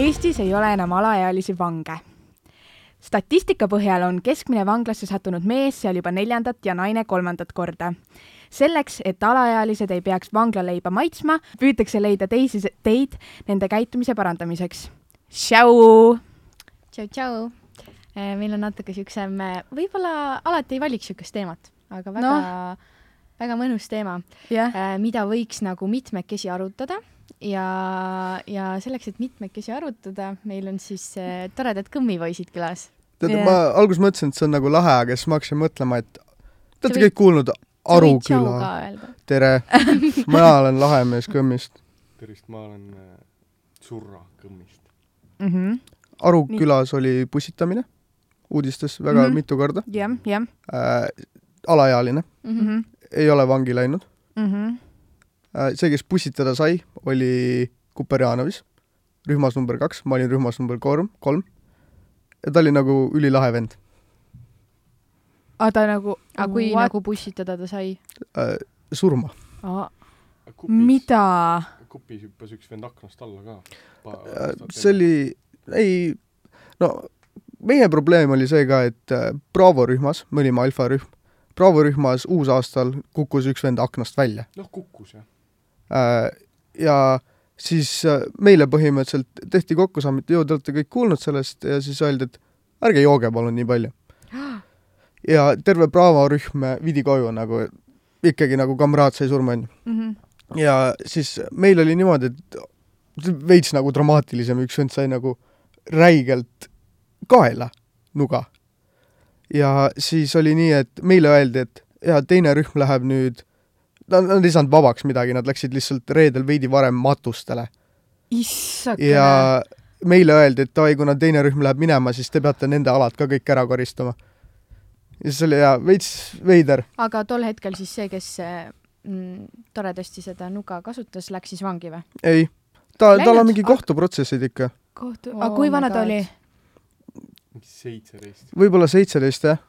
Eestis ei ole enam alaealisi vange. statistika põhjal on keskmine vanglasse sattunud mees seal juba neljandat ja naine kolmandat korda. selleks, et alaealised ei peaks vanglaleiba maitsma, püütakse leida teisi se- teid nende käitumise parandamiseks. Tšau! tšau , tšau . meil on natuke siuksem , võib-olla alati ei valiks siukest teemat , aga väga no. , väga mõnus teema , jah , mida võiks nagu mitmekesi arutada ja , ja selleks , et mitmekesi arutada , meil on siis eh, toredad kõmmipoisid külas . tead Jah. yeah. , ma alguses mõtlesin , et see on nagu lahe , aga siis ma hakkasin mõtlema , et te Sa olete võid- kõik kuulnud Aruküla , tere , mina olen lahe mees Kõmmist . tervist , ma olen äh, Zurra Kõmmist . mhm. Arukülas oli pussitamine uudistes väga mm Mhm. -hmm. mitu korda jah , jah . äh, . alaealine Mhm. Mhm. ei ole vangi läinud äh, . see , kes pussitada sai , oli Kuperjanovis , rühmas number kaks , ma olin rühmas number kolm , kolm . ja ta oli nagu ülilahe vend aga ta nagu , aga kui What? nagu bussitada ta sai ? äh, , surma . Äh, kupis , mida ? kupis hüppas üks vend aknast alla ka . Äh, see oli , ei , no meie probleem oli see ka , et äh, Bravo rühmas , me olime alfa rühm , Bravo rühmas uusaastal kukkus üks vend aknast välja noh , kukkus jah . Äh, ja siis äh, meile põhimõtteliselt tehti kokkusaamine , et joo , te olete kõik kuulnud sellest ja siis öeldi , et ärge jooge palun nii palju . ja terve Bravo rühm äh, viidi koju nagu , ikkagi nagu kamraad sai surma , onju . Mhm. ja siis meil oli niimoodi , et veits nagu dramaatilisem , üks vend sai nagu räigelt kaela nuga . ja siis oli nii , et meile öeldi , et ja teine rühm läheb nüüd , nad nad ei saanud vabaks midagi , nad läksid lihtsalt reedel veidi varem matustele issakene . ja meile öeldi , et oi , kuna teine rühm läheb minema , siis te peate nende alad ka kõik ära koristama . ja siis oli jaa , veits veider . aga tol hetkel siis see , kes eh, mm, toredasti seda nuga kasutas , läks siis vangi või ? ei , ta , tal Läinud? on mingi kohtuprotsessid ikka . kohtu , Oh aga kui my vana ta God. oli ? mingi seitseteist . võib-olla seitseteist , jah .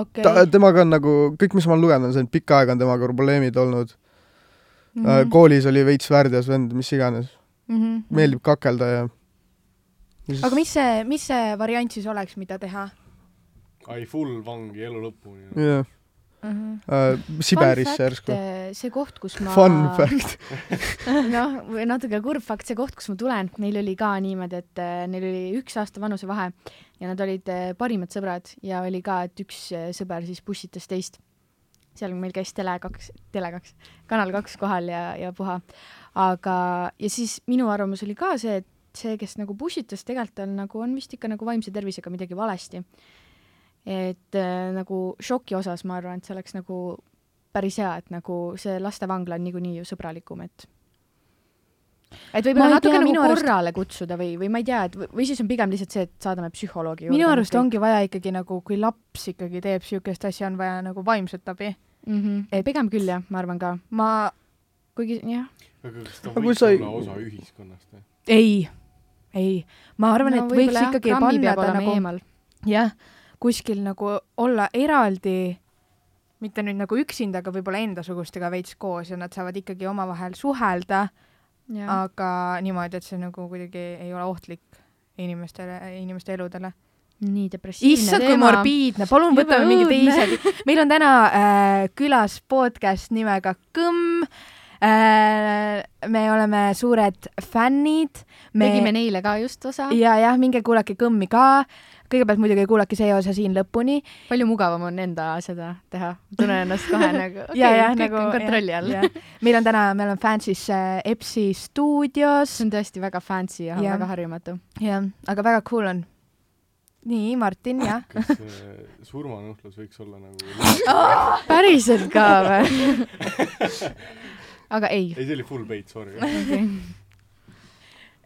okei ta , temaga on nagu kõik , mis ma olen lugenud , on see , et pikka aega on temaga probleemid olnud Mhm. mm . -hmm. koolis oli veits väärteos vend , mis iganes , meeldib kakelda ja, ja . aga ? mis see , mis see variant siis oleks , mida teha ? ai , full vangi elu lõpuni . jah , Mhm. Siberisse järsku . eh, see koht , kus ma . Fun fact . noh , või natuke kurb fakt , see koht , kus ma tulen , neil oli ka niimoodi , et eh, neil oli üks aasta vanusevahe ja nad olid eh, parimad sõbrad ja oli ka , et üks eh, sõber siis bussitas teist . seal meil käis Tele2 , Tele2 , Kanal2 kohal ja , ja puha . aga , ja siis minu arvamus oli ka see , et see , kes nagu bussitas , tegelikult tal nagu on vist ikka nagu vaimse tervisega midagi valesti . et eh, nagu šoki osas ma arvan , et see oleks nagu päris hea , et nagu see lastevangla on niikuinii ju sõbralikum , et et Ma ei võib-olla natuke tea, nagu minu arust- korrale kutsuda või , või ma ei tea , et või- või siis on pigem lihtsalt see , et saadame psühholoogi minu arust ongi vaja ikkagi nagu , kui laps ikkagi teeb niisugust asja , on vaja nagu vaimset abi . mm . -hmm. et- et pigem küll jah , ma arvan ka , ma kuigi jah , aga kas ta Aga kui võiks sa ei- olla osa ühiskonnast või ? ei , ei , ma arvan no, , et võiks ikkagi panna ta nagu eemal . jah , kuskil nagu olla eraldi , mitte nüüd nagu üksinda , aga võib-olla endasugustega veits koos ja nad saavad ikkagi omavahel suhelda , aga niimoodi , et see nagu kuidagi ei ole ohtlik inimestele , inimeste eludele . nii depressiivne issand , kui teema . morbiidne , palun Jube võtame mingi õudne. teise . meil on täna äh, külas podcast nimega Kõmm äh, . me oleme suured fännid . tegime neile ka just osa , ja jah , minge kuulake Kõmmi ka . kõigepealt muidugi kuulake see osa siin lõpuni palju mugavam on enda seda teha , tunnen ennast kohe nagu , okei ja , ja kõik nagu on kontrolli jah, all . jah. meil on täna , me oleme Fancy's äh, EPS-i stuudios see on tõesti väga fancy ja, Jah. ja. väga harjumatu . jah , aga väga cool on . nii , Martin , jah . kas äh, surmanuhtlus võiks olla nagu ? päriselt ka või ? aga ei . ei , see oli full bait , sorry .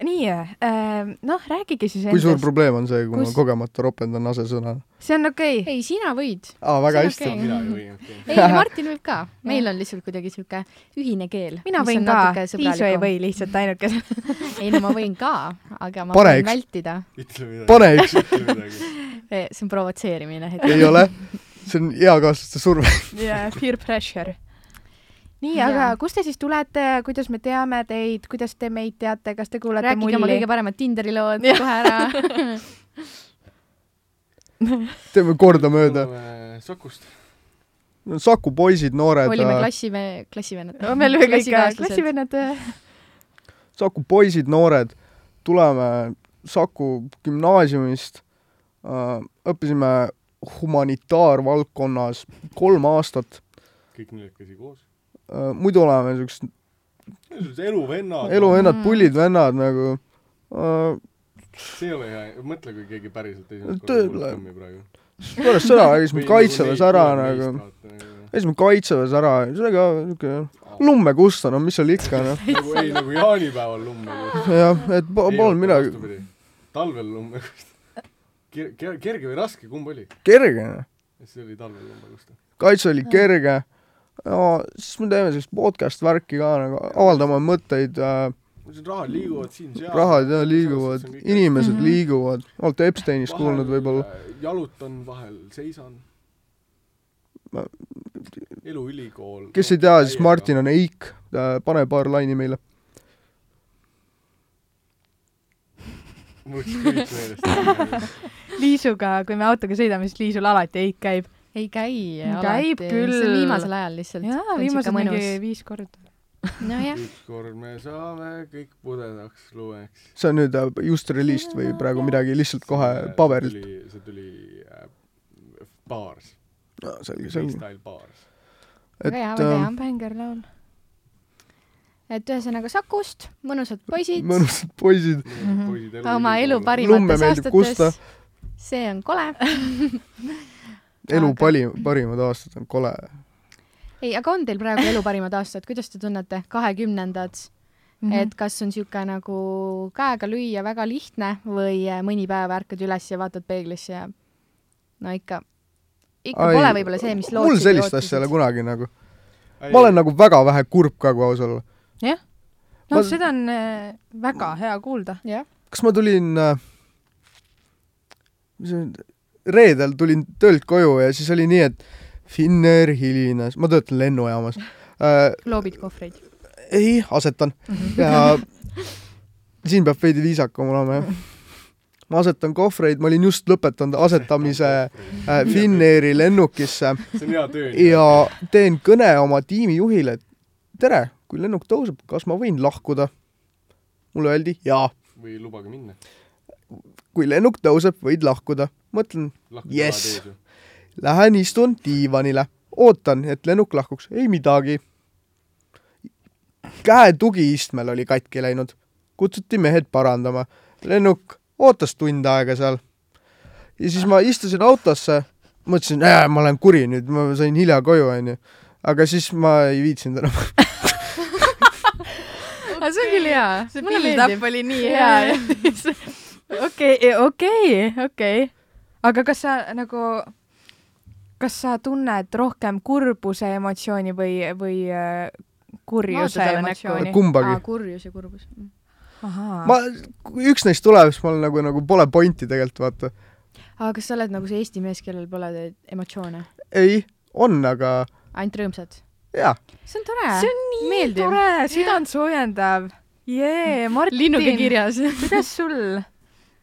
nii äh, , noh , rääkige siis kui suur endast . probleem on see , kui Kus- ma kogemata ropendan asesõna ? see on okei okay. . ei , sina võid . aa , väga See on hästi okei. okay. . mina ei võinud teha . ei , Martin võib ka . meil on lihtsalt kuidagi sihuke ühine keel . mina võin ka , Liisu ei . või lihtsalt ainuke . ei no ma võin ka , aga ma Pane võin üks- vältida . ütle midagi . pane üks , ütle midagi . see on provotseerimine hetkel . ei ole , see on eakaaslaste surve . jaa , peer pressure . nii , Jaa. aga kust te siis tulete , kuidas me teame teid , kuidas te meid teate , kas te kuulate rääkige oma mulli kõige ? paremad Tinderi lood Jah. kohe ära . teeme kordamööda . Sakust . Saku poisid , noored , äh, olime klassime- , klassivennad . me olime kõik äh, . klassivennad . Saku poisid , noored , tuleme Saku gümnaasiumist , õppisime humanitaarvaldkonnas kolm aastat , kõik neljakesi koos . muidu oleme niisugused eluvennad . eluvennad , Mm. pullid vennad nagu äh, . see ei ole hea , mõtle , kui keegi päriselt esimest Tööle- korda kummi praegu . pärast seda käisime kaitseväes ära nagu ,. käisime kaitseväes ära , see oli ka niuke lumme kusta , no mis seal ikka noh , nagu ei , nagu jaanipäeval nagu. lumme . jah , et po- polnud midagi , talvel nagu lumme kusta . kerge või raske , kumb oli ? kerge noh , see oli talvel nagu lumme kusta . kaitse oli kerge . no siis me teeme sellist podcast värki ka nagu , avaldame mõtteid äh, , rahad liiguvad siin-seal . rahad ja liiguvad , inimesed Mhm. liiguvad , olete Epsteinist kuulnud võib-olla ?. jalutan äh, vahel , seisan Ma- . eluülikool . kes ei tea , siis Martin on eik , pane paar laini meile . mul läks kõik meelest . Liisuga , kui me autoga sõidame , siis Liisul alati eik käib . ei käi Käib alati . küll. viimasel ajal lihtsalt . jaa , viimased mingi . viis korda . nojah , ükskord me saame kõik pudedaks lumeks . see on nüüd äh, just reliist või praegu midagi lihtsalt kohe paberilt .. see tuli äh, baars , selge , selge . freestyle baars . et väga hea , äh, väga hea . bängerlaul . et ühesõnaga Sakust , mõnusad poisid . mõnusad poisid , oma elu . Lumme parimates meeldib kusta. aastates . see on kole . elu Aga- pali- , parimad aastad on kole . ei , aga on teil praegu elu parimad aastad , kuidas te tunnete , kahekümnendad ? Mhm. et kas on niisugune nagu käega lüüa väga lihtne või äh, mõni päev ärkad üles ja vaatad peeglisse ja no ikka , ikka Ai, pole võib-olla see , mis mul lootsid sellist asja ei ole . kunagi nagu , ma olen . nagu väga vähe kurb ka , kui aus olla . no ma- seda on äh, väga hea kuulda . jah , kas ma tulin , mis see nüüd , reedel tulin töölt koju ja siis oli nii , et Finnair hilines , ma töötan lennujaamas äh, . loobid kohvreid . ei , asetan ja siin peab veidi viisakam olema , jah . ma asetan kohvreid , ma olin just lõpetanud asetamise äh, Finnairi lennukisse see on hea töö . ja teen kõne oma tiimijuhile , et tere , kui lennuk tõuseb , kas ma võin lahkuda ? mulle öeldi jaa , või lubage minna . kui lennuk tõuseb , võid lahkuda . mõtlen , Yes. . lähen istun diivanile , ootan , et lennuk lahkuks , ei midagi . käe tugiistmel oli katki läinud , kutsuti mehed parandama , lennuk ootas tund aega seal . ja siis ma istusin autosse , mõtlesin , ma olen kuri nüüd , ma sain hilja koju , onju . aga siis ma ei viitsinud enam . aga see on küll hea , see mulle build-up meeldib . oli nii hea . okei , okei , okei . aga kas sa nagu , kas sa tunned rohkem kurbuse emotsiooni või , või äh, kurjuse Vaatad talle emotsiooni ? kumbagi . kurjus ja kurbus . Mhm. ma ma... , kui üks neist tuleb , siis mul nagu , nagu pole pointi tegelikult , vaata . aga kas sa oled nagu see eesti mees , kellel pole te- emotsioone , ei , on , aga ainult rõõmsad ? jaa . see on tore . see on nii Meeldiv. Meeldiv. tore , südant soojendav . Jee , linnuke Martin , kirjas . kuidas sul ?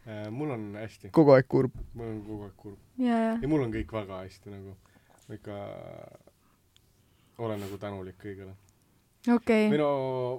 Äh, mul on hästi , kogu aeg kurb . mul on kogu aeg kurb . ja , ja . ei , mul on kõik väga hästi nagu , ma ikka olen nagu tänulik kõigele . okei või . no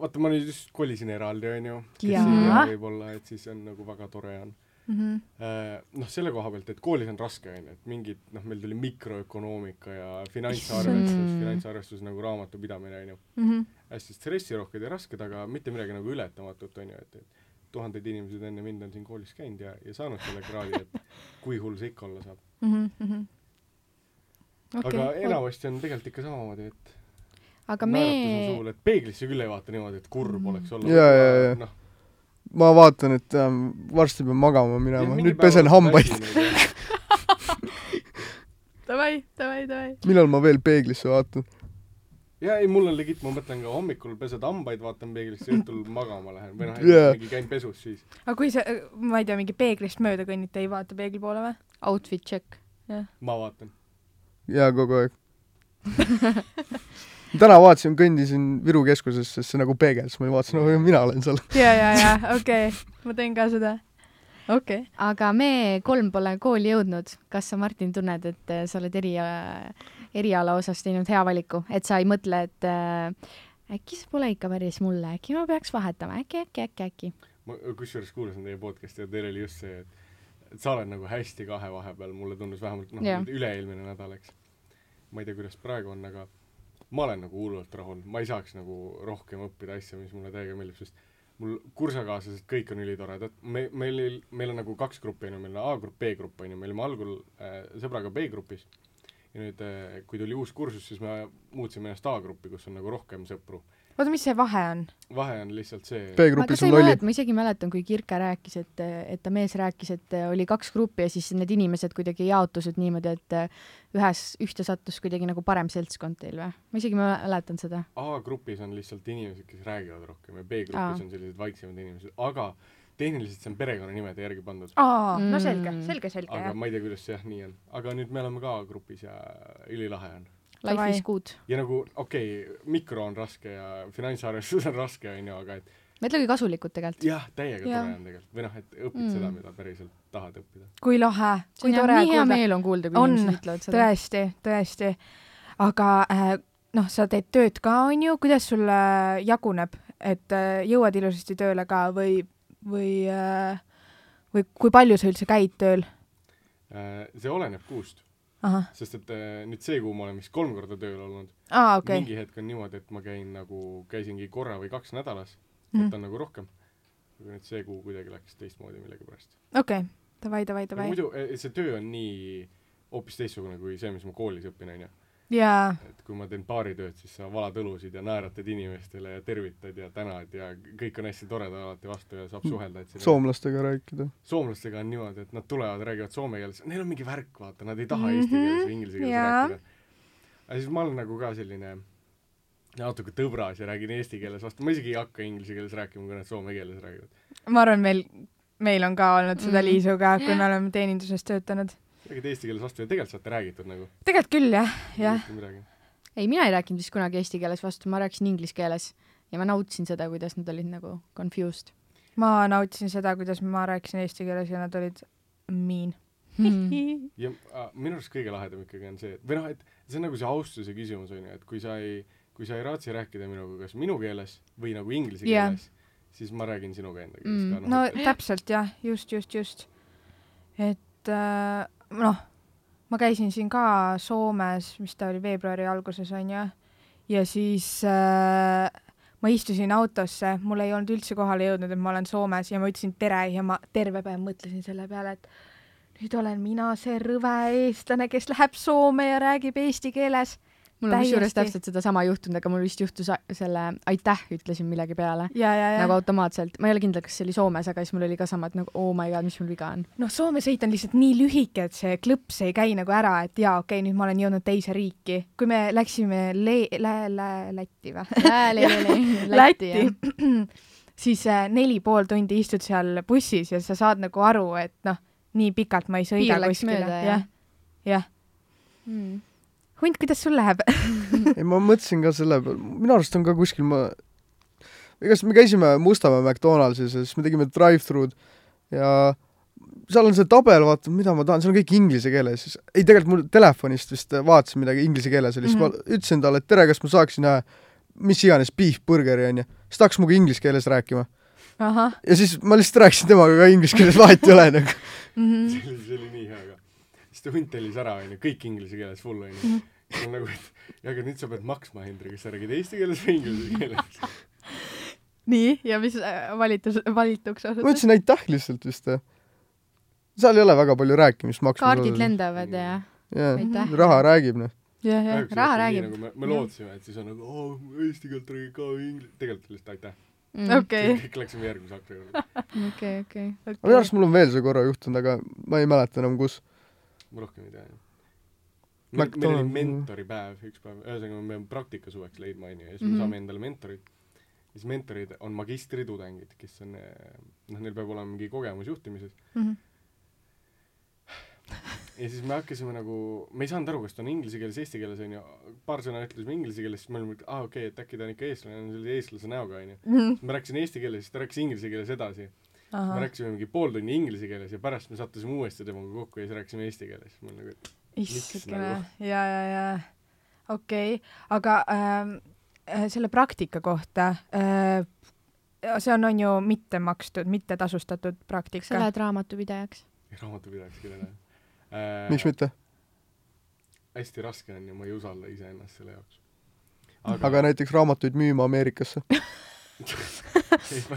vaata , ma nüüd just kolisin eraldi , onju . kes Jaa. ei tea võib-olla , et siis on nagu väga tore on . Mhm, Eh, noh , selle koha pealt , et koolis on raske , on ju , et mingid , noh , meil tuli mikroökonoomika ja finantsarvestus Issand. , finantsarvestus nagu raamatupidamine , on ju . mhm, hästi stressirohked ja rasked , aga mitte midagi nagu ületamatut , on ju , et , et tuhanded inimesed enne mind on siin koolis käinud ja , ja saanud selle kraadi , et kui hull see ikka olla saab . mhm, aga enamasti on tegelikult ikka samamoodi , et aga me naeratus on suur , et peeglisse küll ei vaata niimoodi , et kurb oleks olla . Jaa, jaa, jaa. noh , ma vaatan , et ähm, varsti pean magama minema , nüüd pesen hambaid .. Davai , davai , davai . millal ma veel peeglisse vaatan ? ja ei , mul on legit , ma mõtlen ka hommikul pesed hambaid , vaatan peeglisse , õhtul magama lähen või noh Jaa. yeah. , mingi käin pesus siis . aga kui sa , ma ei tea , mingi peeglist mööda kõnnid , te ei vaata peegli poole või ? outfit check . ma vaatan . jaa , kogu aeg . täna vaatasin , kõndisin Viru keskuses , sest see nagu peegeldas , ma vaatasin , oi mina olen seal . ja , ja , ja okei okay. , ma teen ka seda . okei okay. . aga me kolm pole kooli jõudnud . kas sa , Martin , tunned , et äh, sa oled eri , eriala osas teinud hea valiku , et sa ei mõtle , et äh, äkki see pole ikka päris mulle , äkki ma peaks vahetama , äkki , äkki , äkki , äkki . ma kusjuures kuulasin teie podcast'i ja teil oli just see , et et sa oled nagu hästi kahe vahepeal , mulle tundus vähemalt noh Jah. yeah. , üle-eelmine nädal , eks . ma ei tea , kuidas praegu on , aga ma olen nagu hullult rahul , ma ei saaks nagu rohkem õppida asja , mis mulle täiega meeldib , sest mul kursakaaslased kõik on ülitoredad , me , meil , meil on nagu kaks gruppi on ju , meil on A-grupp , B-grupp on ju , me olime algul äh, sõbraga B-grupis ja nüüd äh, , kui tuli uus kursus , siis me muutsime ennast A-gruppi , kus on nagu rohkem sõpru . oota , mis see vahe on ? vahe on lihtsalt see , aga B-grupis sa ei on lollid . mäleta , ma isegi mäletan , kui Kirke rääkis , et , et ta mees rääkis , et äh, oli kaks gruppi ja siis need inimesed kuidagi jaotusid niimoodi , et äh, ühes , ühte sattus kuidagi nagu parem seltskond teil või ? ma isegi mäletan seda . A-grupis on lihtsalt inimesed , kes räägivad rohkem ja Aa. B-grupis on sellised vaiksemad inimesed , aga tehniliselt see on perekonnanimede järgi pandud . aa , no Mm. selge , selge , selge , aga jah . ma ei tea , kuidas see jah nii on . aga nüüd me oleme ka A-grupis ja ülilahe on . Life Davai. is good . ja nagu okei okay, , mikro on raske ja finantsarvestus on raske , onju , aga et mõtlegi kasulikult tegelikult . jah , täiega Jah. tore on tegelikult või noh , et õpid Mm. mm. seda , mida päriselt tahad õppida . kui lahe , kui nii tore hea kuulda . meel on kuulda , kui On, inimesed ütlevad seda . tõesti , tõesti . aga äh, noh , sa teed tööd ka , on ju , kuidas sul äh, jaguneb , et äh, jõuad ilusasti tööle ka või , või äh, , või kui palju sa üldse käid tööl ? Äh, see oleneb kuust , ahah , sest et äh, nüüd see kuu ma olen vist kolm korda tööl olnud . aa okei okay. okay. , mingi hetk on niimoodi , et ma käin nagu , käisingi korra või kaks nädalas mm. , Mhm. et on nagu rohkem . aga nüüd see kuu kuidagi läks teistmoodi millegipärast . okei okay. , davai , davai , davai . muidu eh, see töö on nii hoopis teistsugune kui see , mis ma koolis õpin , onju . jaa , et kui ma teen baaritööd , siis sa valad õlusid ja naeratad inimestele ja tervitad ja tänad ja kõik on hästi toredad alati vastu ja saab Mhm. suhelda , et siin soomlastega rääkida . soomlastega on niimoodi , et nad tulevad , räägivad soome keeles , neil on mingi värk , vaata , nad ei taha Mhm, mm -hmm. eesti keeles või inglise keeles jaa. rääkida . aga siis ma olen nagu ka selline natuke tõbras ja räägin eesti keeles vastu , ma isegi ei hakka inglise keeles rääkima , kui nad soome keeles räägivad . ma arvan , meil , meil on ka olnud seda Mm. Liisuga , kui me oleme teeninduses töötanud . räägid eesti keeles vastu ja tegelikult saate räägitud nagu . tegelikult küll jah , jah . midagi . ei , mina ei rääkinud vist kunagi eesti keeles vastu , ma rääkisin inglise keeles ja ma nautisin seda , kuidas nad olid nagu confused ma nautisin seda , kuidas ma rääkisin eesti keeles ja nad olid mean hmm. . ja a, minu arust kõige lahedam ikkagi on see , et või noh , et see on nagu see austuse küsimus on ju , et kui sa ei , kui sa ei raatsi rääkida minuga kas minu keeles või nagu inglise Jah. keeles yeah. , siis ma räägin sinuga enda keeles Mm. mm. ka . no täpselt jah , just , just , just . et äh, noh , ma käisin siin ka Soomes , mis ta oli veebruari alguses onju , ja siis äh, ma istusin autosse , mul ei olnud üldse kohale jõudnud , et ma olen Soomes ja ma ütlesin tere ja ma terve päev mõtlesin selle peale , et nüüd olen mina see rõve eestlane , kes läheb Soome ja räägib eesti keeles . mul on kusjuures Täiesti. täpselt sedasama juhtunud , aga mul vist juhtus a- selle aitäh ütlesin millegi peale . ja , ja , ja nagu automaatselt , ma ei ole kindel , kas see oli Soomes , aga siis mul oli ka sama , et nagu oh my god , mis mul viga on . noh , Soome sõit on lihtsalt nii lühike , et see klõps ei käi nagu ära , et jaa , okei okay, , nüüd ma olen jõudnud teise riiki . kui me läksime Le- , Lä- , Lä- , Lätti või ? Läti, jah. siis äh, neli pool tundi istud seal bussis ja sa saad nagu aru , et noh , nii pikalt ma ei sõida Piir läks kuskile . mööda, jah. jah , jah . Mm. hunt , kuidas sul läheb ? ei , ma mõtlesin ka selle peale , minu arust on ka kuskil ma , kas me käisime Mustamäe McDonaldsis ja siis me tegime drive-thru'd ja seal on see tabel , vaata , mida ma tahan , seal on kõik inglise keeles , siis ei tegelikult mul telefonist vist vaatasin midagi inglise keeles oli , siis ma ütlesin talle , et tere , kas ma saaksin äh, mis iganes beef burgeri onju , siis ta hakkas minuga inglise keeles rääkima ahah ja siis ma lihtsalt rääkisin temaga ka inglise keeles , vahet ei ole nagu . mm . -hmm. see oli , see oli nii hea ka . siis ta hunt tellis ära , onju , kõik inglise keeles full , onju . mul nagu , et ja aga nüüd sa pead maksma , Hendrik , kas sa räägid eesti keeles või inglise keeles . nii , ja mis äh, valitus , valituks ma osutus ? ütlesin aitäh lihtsalt vist . seal ei ole väga palju rääkimist maksma . kaardid . lendavad ja jah Aitäh. , raha räägib noh . jah , jah . raha räägib. nagu me , me Jah. lootsime , et siis on nagu oo , eesti keelt räägid ka inglise , tegelikult lihtsalt aitäh . mm. . okei , kõik läksime järgmise akti juurde . okei , okei . minu okei . arust mul on veel see korra juhtunud , aga ma ei mäleta enam , kus . ma rohkem ei tea , jah . meil meil oli McDonald's. mentoripäev üks päev , ühesõnaga me peame praktika suveks leidma , onju , ja siis me mm Mhm. -hmm. saame endale mentorid . siis mentorid on magistritudengid , kes on , eh, Mhm. noh , neil peab olema mingi kogemus juhtimises . ja siis me hakkasime nagu , me ei saanud aru , kas ta on inglise keeles , eesti keeles onju , paar sõna ütlesime inglise keeles , siis me olime , et aa ah, okei okay, , et äkki ta on ikka eestlane , sellise eestlase näoga onju . Mhm. ma rääkisin eesti keeles , siis ta rääkis inglise keeles edasi . me ahah , rääkisime mingi pool tundi inglise keeles ja pärast me sattusime uuesti temaga kokku ja siis rääkisime eesti keeles . ma olin nagu , et issandkene nagu? , ja , ja , ja okei okay. , aga ähm, äh, selle praktika kohta äh, , see on , on ju mitte makstud , mitte tasustatud kas sa praktika . lähed raamatupidajaks ? ei, raamatupidajaks küll enam äh, miks ? mitte , hästi raske on ja ma ei usalda iseennast selle jaoks . aga näiteks raamatuid müüma Ameerikasse ,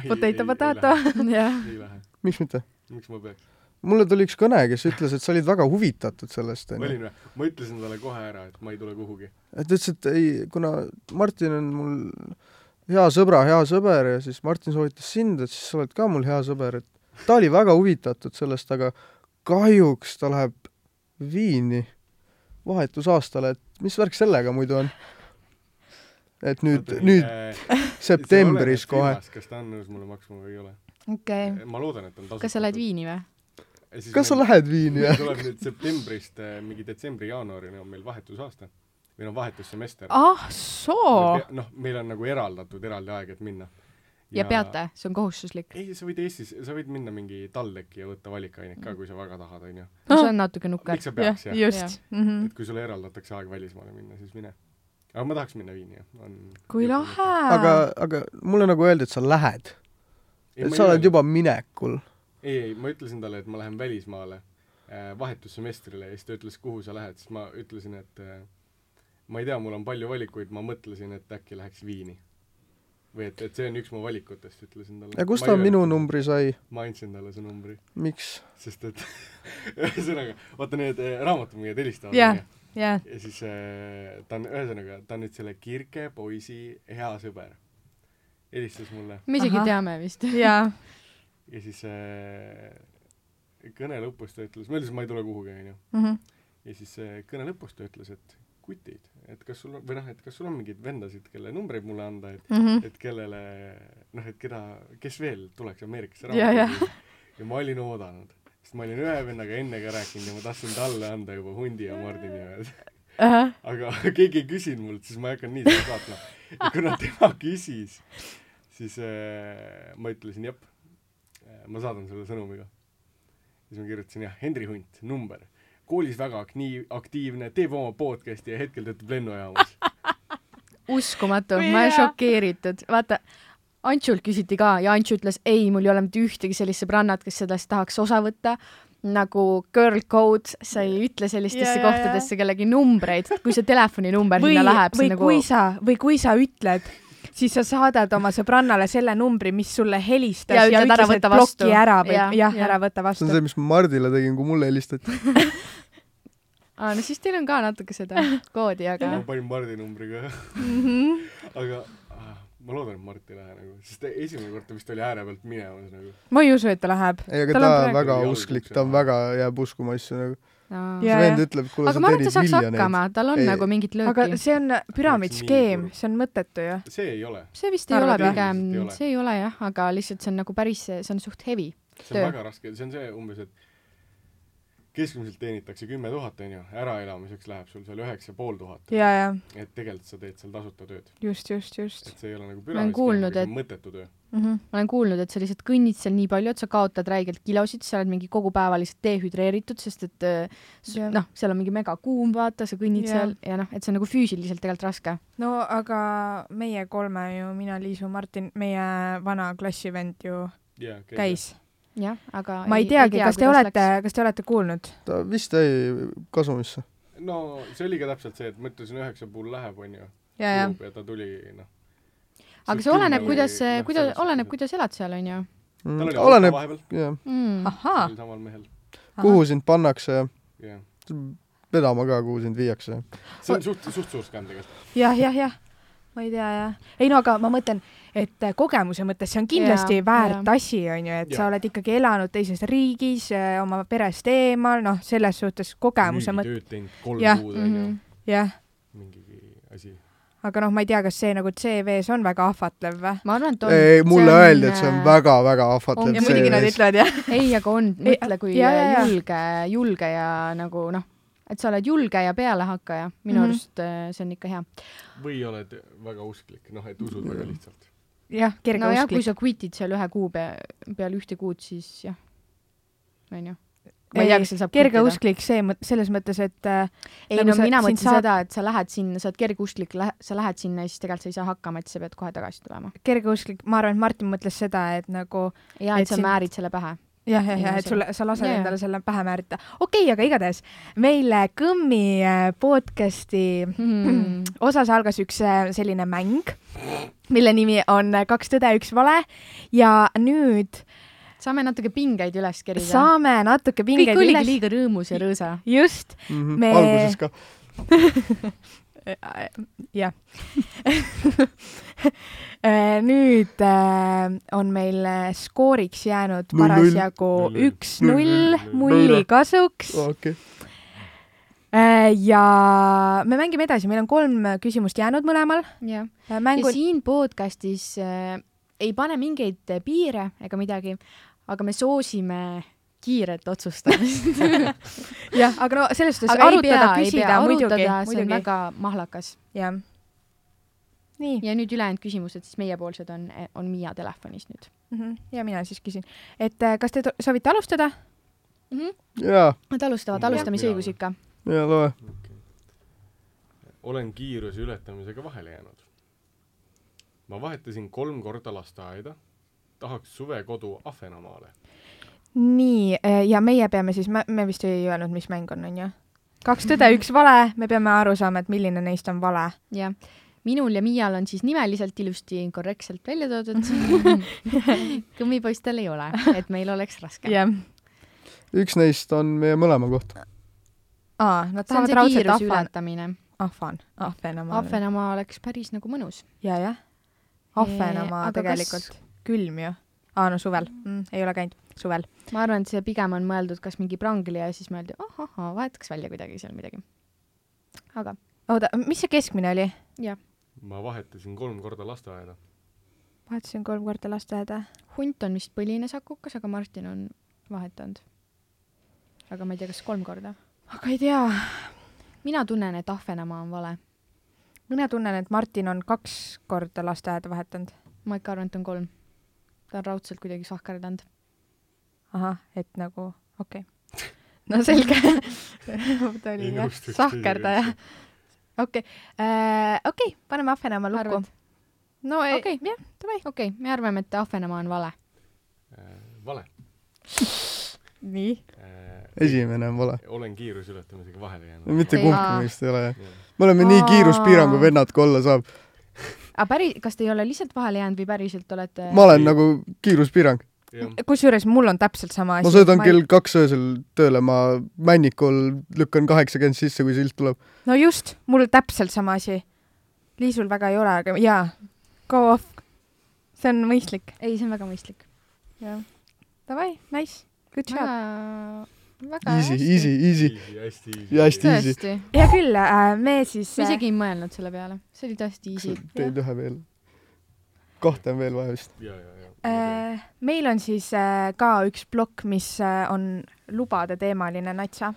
Potato, potato. jah . ei lähe , miks mitte ? miks ma peaks , mulle tuli üks kõne , kes ütles , et sa olid väga huvitatud sellest , onju . olin või , ma ütlesin talle kohe ära , et ma ei tule kuhugi . ta ütles , et ei , kuna Martin on mul hea sõbra hea sõber ja siis Martin soovitas sind , et siis sa oled ka mul hea sõber , et ta oli väga huvitatud sellest , aga kahjuks ta läheb Viini vahetusaastale , et mis värk sellega muidu on ? et nüüd , nüüd äh, septembris kohe . kas ta on nõus mulle maksma või ei ole ? okei , ma loodan , et on tasuta . kas sa lähed ? Viini või ? kas sa lähed Viini meil jah ? tuleb nüüd septembrist eh, mingi detsembri-jaanuarini on meil vahetusaasta või noh , vahetussemester . ah soo , noh , meil on nagu eraldatud eraldi aeg , et minna . ja peate , see on kohustuslik . ei , sa võid Eestis , sa võid minna mingi TalTechi ja võtta valikainet Mm. ka , kui sa väga tahad , onju . see on natuke nukker miks . sa jah peaks , jah ? just . Mm. Mhm. et kui sulle eraldatakse aeg välismaale minna , siis mine . aga ma tahaks minna Viini , jah . kui . lahe . aga , aga mulle nagu öeldi , et sa lähed , et sa oled . juba minekul . ei , ei , ma ütlesin talle , et ma lähen välismaale äh, vahetussemestrile ja siis ta ütles , kuhu sa lähed , siis ma ütlesin , et äh, ma ei tea , mul on palju valikuid , ma mõtlesin , et äkki läheks Viini . või et , et see on üks mu valikutest , ütlesin talle . ja kust ta minu ? numbri sai , ma andsin talle su numbri , miks ? sest et ühesõnaga , vaata need äh, raamatumüüjad helistavad Jah. onju. jah , ja siis äh, ta on , ühesõnaga , ta on nüüd selle Kirke poisi hea sõber . helistas mulle me isegi Ahah. teame vist . ja ja siis äh, kõne lõpus ta ütles , ma ütlesin , ma ei tule kuhugi , onju . mhm. ja siis äh, kõne lõpus ta ütles , et kutid , et kas sul on , või noh , et kas sul on mingeid vendasid , kelle numbreid mulle anda , et , Mhm. et kellele , noh , et keda , kes veel tuleks Ameerikasse Ja, ja. raamatukogule . ja ma olin oodanud , sest ma olin ühe vennaga enne ka rääkinud ja ma tahtsin talle anda juba hundi ja Mardini ajal . Ahah. aga keegi ei küsinud mult , siis ma ei hakanud nii seda saatma . ja kuna tema küsis , siis äh, ma ütlesin jep , ma saadan selle sõnumiga . siis ma kirjutasin jah , Henri Hunt , number . koolis väga akni- , aktiivne , teeb oma podcast'i ja hetkel töötab lennujaamas . uskumatu , Kui ma olen hea. šokeeritud , vaata . Antsult küsiti ka ja Antsu ütles ei , mul ei ole mitte ühtegi sellist sõbrannat , kes sellest tahaks osa võtta . nagu girl code , sa ei ütle Ja, sellistesse ja, ja. kohtadesse kellegi numbreid , kui see telefoninumber või sinna , läheb , või see nagu kui sa , või kui sa ütled , siis sa saadad oma sõbrannale selle numbri , mis sulle helistas Ja ja, ütled, ja ära ütles , et võta vastu. ploki ära või Ja, jah ja, , ja. ära võta see vastu on . see , mis ma Mardile tegin , kui mulle helistati . aa , no siis teil on ka natuke seda koodi , aga ma panin Mardi numbri ka . Mhm. aga ah, ma loodan , et Mart ei lähe nagu , sest esimene kord ta vist oli ääre pealt minemas nagu . ma ei usu , et ta läheb . ei , aga Tal ta on on praegu väga jalg usklik , ukse ta on taha. väga , jääb uskuma asju nagu . no. . Jaa, see vend jaa. ütleb , kuule , aga sa ma arvan , et teenid ta saaks miljoneid . hakkama , tal on Ei. ei. nagu mingit aga lööki . see on püramiidskeem kurb. , see on mõttetu ju . see ei ole , see vist ei Arvad ole või? pigem Ei ole. , see ei ole jah , aga lihtsalt see on nagu päris , see on suht heavy . see on Töö. väga raske , see on see umbes , et keskmiselt teenitakse kümme tuhat , onju , äraelamiseks läheb sul seal üheksa pool tuhat . ja , ja et tegelikult sa teed seal tasuta tööd , just , just , just et see ei ole nagu olen püramiidskeem , kuulnud, aga see on mõttetu töö . mm . -hmm. ma olen kuulnud , et sa lihtsalt kõnnid seal nii palju , et sa kaotad räigelt kilosid , sa oled mingi kogu päeva lihtsalt dehüdreeritud , sest et äh, s- Jah. noh , seal on mingi megakuum , vaata , sa kõnnid Jah. yeah. seal ja noh , et see on nagu füüsiliselt tegelikult raske . no aga meie kolme ju , mina , Liisu , Martin , meie vana klassivend ju jaa , käis . jah , aga ma ei teagi , kas te kuidas olete läks. , kas te olete kuulnud ? ta vist jäi kasumisse . no see oli ka täpselt see , et ma ütlesin üheksa puhul läheb , onju , ja , ja kuub ja ta tuli , noh . aga see oleneb , kuidas , kuidas , oleneb ,. kuidas elad seal , on ju tal oli auto Mm. oleneb , vahepeal , jah , mm. . ahaa sel samal mehel , kuhu sind pannakse ja jah . vedama ka , kuhu sind viiakse . see on suht , suht suur skämm tegelikult . jah , jah , jah , ma ei tea jah . ei no aga ma mõtlen , et äh, kogemuse mõttes see on kindlasti Jaa, ja, väärt jaa. ja. asi , on ju , et ja. Jaa. sa oled ikkagi elanud teises riigis , oma perest eemal , noh , selles suhtes kogemuse mõttes , Mhm. müügitööd teinud kolm Jah, kuud , Mm onju -hmm. jah . mingigi asi . aga noh , ma ei tea , kas see nagu CV-s on väga ahvatlev või ? ma arvan , et on . ei , mulle öeldi , et see on . väga-väga ahvatlev ja muidugi nad CV-s . ütlevad jah . ei , aga on , Ei, mõtle , kui ja, ja, ja. julge , julge ja nagu noh , et sa oled julge ja pealehakkaja , minu Mhm. arust äh, see on ikka hea . või oled väga usklik , noh , et usud väga lihtsalt . jah , kerge nojah , kui usklik . sa quit'id seal ühe kuu pea- , peale ühte kuud , siis jah , onju . ma Ei, ei tea , kas seal saab kerge quit'ida. usklik see , selles mõttes , et äh, ei nagu no sa- mina sind mõtlesin saab- seda , et sa lähed sinna , sa oled kergeusklik , sa lähed sinna ja siis tegelikult sa ei saa hakkama , et sa pead kohe tagasi tulema . kergeusklik , ma arvan , et Martin mõtles seda , et nagu ja Et et sa sind- määrid selle pähe . jah , jah , jah , et Inimesel. sulle , sa lased Jaa, yeah. jaa. endale selle pähe määrata . okei okay, , aga igatahes meil äh, Kõmmi äh, podcasti Hmm. osas algas üks äh, selline mäng , mille nimi on äh, Kaks tõde , üks vale ja nüüd saame natuke pingeid üles kerida . saame natuke kõik pingeid oligi üles . liiga rõõmus ja rõõsa . just , me- Mhm. alguses ka . jah . nüüd äh, on meil äh, skooriks jäänud Null-null. parasjagu Null-null. üks-null Null-null. mulli Null-null. kasuks . okei . Äh, ja me mängime edasi , meil on kolm küsimust jäänud mõlemal jah . äh, ja mängul . siin podcastis äh, ei pane mingeid äh, piire ega midagi , aga me soosime kiiret otsustamist . jah , aga no selles suhtes arutada , küsida muidugi , see on muidugi , väga mahlakas . jah . nii , ja nüüd ülejäänud küsimused , siis meiepoolsed on , on Miia telefonis nüüd Mhm. ja mina siis küsin , et äh, kas te to- soovite alustada ? mm . -hmm. jaa , Nad alustavad , Jah. alustamisõigus ikka . jaa , loe . olen kiiruse ületamisega vahele jäänud . ma vahetasin kolm korda lasteaeda , tahaks suvekodu Ahvenamaale . nii , ja meie peame siis , me vist ei öelnud , mis mäng on , on ju ? kaks tõde , üks vale , me peame aru saama , et milline neist on vale . jah , minul ja Miial on siis nimeliselt ilusti korrektselt välja toodud . kõmmipoistel ei ole , et meil oleks raske . jah . üks neist on meie mõlema kohta . aa , nad see on tahavad see raudselt kiiruse ahvan , ületamine . ahvan , ahvenamaale . Ahvenamaa oleks päris nagu mõnus . ja , jah . Eh, ahvenamaa aga tegelikult kas... . külm ju . aa , no suvel mm, , ei ole käinud , suvel . ma arvan , et see pigem on mõeldud kas mingi prangli ja siis mõeldi , oh oh oh , vahetaks välja kuidagi seal midagi . aga oota , mis see keskmine oli ? ma vahetasin kolm korda lasteaeda . vahetasin kolm korda lasteaeda . hunt on vist põline sakukas , aga Martin on vahetanud . aga ma ei tea , kas kolm korda . aga ei tea , mina tunnen , et Ahvenamaa on vale . mina tunnen , et Martin on kaks korda lasteaeda vahetanud . ma ikka arvan , et on kolm . ta on raudselt kuidagi sahkerdanud . ahah , et nagu , okei okay. . no selge . ta oli Ei jah , nõustuks sahkerdaja . okei , okei , paneme Ahvenamaa lukku Arvad? . no ei okay. Okei. , jah , davai . okei okay, , me arvame , et Ahvenamaa on vale . Äh, vale . nii . esimene on vale . olen kiiruse ületamisega vahele jäänud . mitte Ei, kumbki aa. meist ei ole jah . Jah. me oleme nii Aa. kiiruspiirangu vennad , kui olla saab . aga päris , kas te ei ole lihtsalt vahele jäänud või päriselt olete ma olen nagu kiiruspiirang . jah , kusjuures mul on täpselt sama asi . ma sõidan kell kaks öösel tööle , ma Männikul lükkan kaheksakümmend sisse , kui silt tuleb . no just , mul täpselt sama asi . Liisul väga ei ole , aga jaa , go off . see on mõistlik . ei , see on väga mõistlik . Davai , nice , good job . väga , väga Easy , easy , easy . easy , hästi ja hästi easy . tõesti , hea küll äh, , me siis ma isegi ei mõelnud selle peale , see oli tõesti easy . teed ühe veel . kahte on veel vaja vist . ja , ja , ja . äh, , meil on siis äh, ka üks plokk , mis äh, on lubade teemaline natsa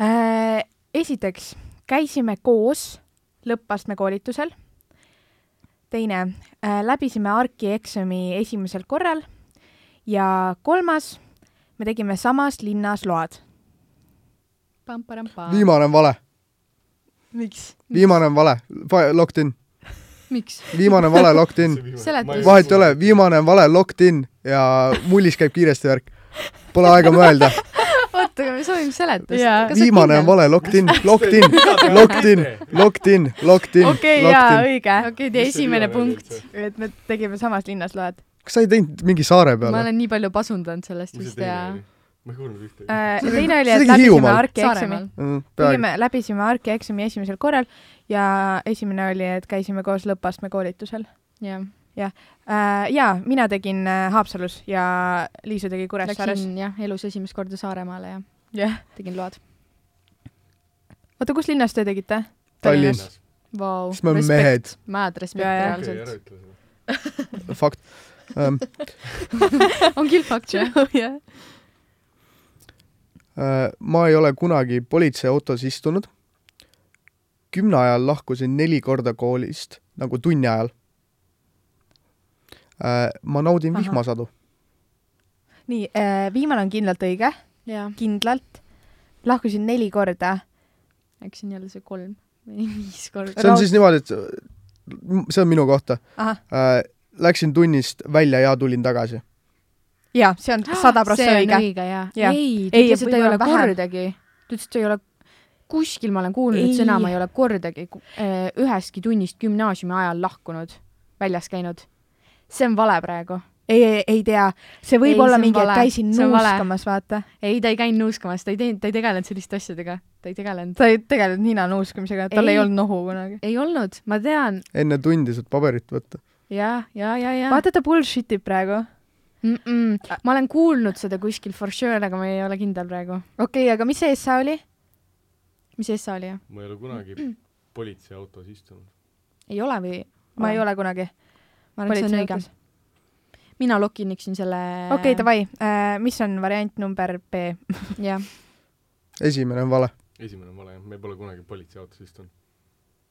äh, . esiteks käisime koos lõppastme koolitusel . teine äh, , läbisime ARK-i eksami esimesel korral ja kolmas , me tegime samas linnas load . pamparam-pam . viimane on vale , miks ? viimane on vale , locked in , miks ? viimane on vale , locked in . Seletus. vahet ei ole , viimane on vale , locked in ja mullis käib kiiresti värk . Pole aega mõelda , oota , aga me soovime seletust Jaa. . viimane on . vale , locked in , locked in , locked in , locked in , locked in , okei , jaa , locked in . õige . okei , tee esimene punkt . et me tegime samas linnas load kas sa ei teinud mingi saare ma peale ? olen nii palju pasundanud sellest mis vist see teine ja oli ? ma ei kuulnud ühtegi äh, . äh, . See oli- teine oli , see et oli läbisime Hiiumaal. ARK-i eksami Saaremaal . Mm, tegime , läbisime ARK-i eksami esimesel korral ja esimene oli , et käisime koos lõppastme koolitusel jah , äh, . ja mina tegin äh, Haapsalus ja Liisu tegi Kuressaares . läksin jah elus esimest korda Saaremaale ja jah , tegin load . oota , kus linnas te tegite ? Tallinnas. Vau , siis me oleme mehed , mäed respekt Jaa, jaa. okei , ära reaalselt . ütle seda . fakt um, . on küll fakt ju . jah . Äh, ma ei ole kunagi politseiautos istunud . kümne ajal lahkusin neli korda koolist nagu tunni ajal . ma naudin Ahah. vihmasadu . nii , viimane on kindlalt õige , jaa , kindlalt . lahkusin neli korda . äkki see on jälle see kolm või viis korda . see on Raud- siis niimoodi , et äh, see on minu kohta ahah , äh, . Läksin tunnist välja ja tulin tagasi . jaa , see on sada prossa õige . õige jaa Jaa. ei , ta Ei, ütles , et ta ei võib-olla ole vähem. kordagi , ta ütles , et ta ei ole , kuskil ma olen kuulnud Ei. sõna , ma ei ole kordagi ku- eh, ühestki tunnist gümnaasiumi ajal lahkunud , väljas käinud . see on vale praegu . ei , ei , ei tea , see võib Ei, ei, olla see on mingi , et vale. käisin See on vale. nuuskamas , vaata . ei , ta ei käinud nuuskamas , ta ei teinud , ta ei tegelenud selliste asjadega , ta ei tegelenud . ta ei tegelenud nina nuuskamisega , tal ei, Ei. ei olnud nohu kunagi . ei olnud , ma tean enne tundi saad paberit võtta . ja , ja , ja , ja . vaata , ta bullshit ib praegu . Mm -mm. ma olen kuulnud seda kuskil for sure , aga ma ei ole kindel praegu . okei okay, , aga mis see essa oli ? mis essa oli ? ma ei ole kunagi politseiautos istunud . ei ole või ? ma ei ole kunagi . ma arvan , et see on õige . okei , mina lokiniksin selle . davai , mis on variant number B ? jah , esimene on vale . esimene on vale jah , me pole kunagi politseiautos istunud .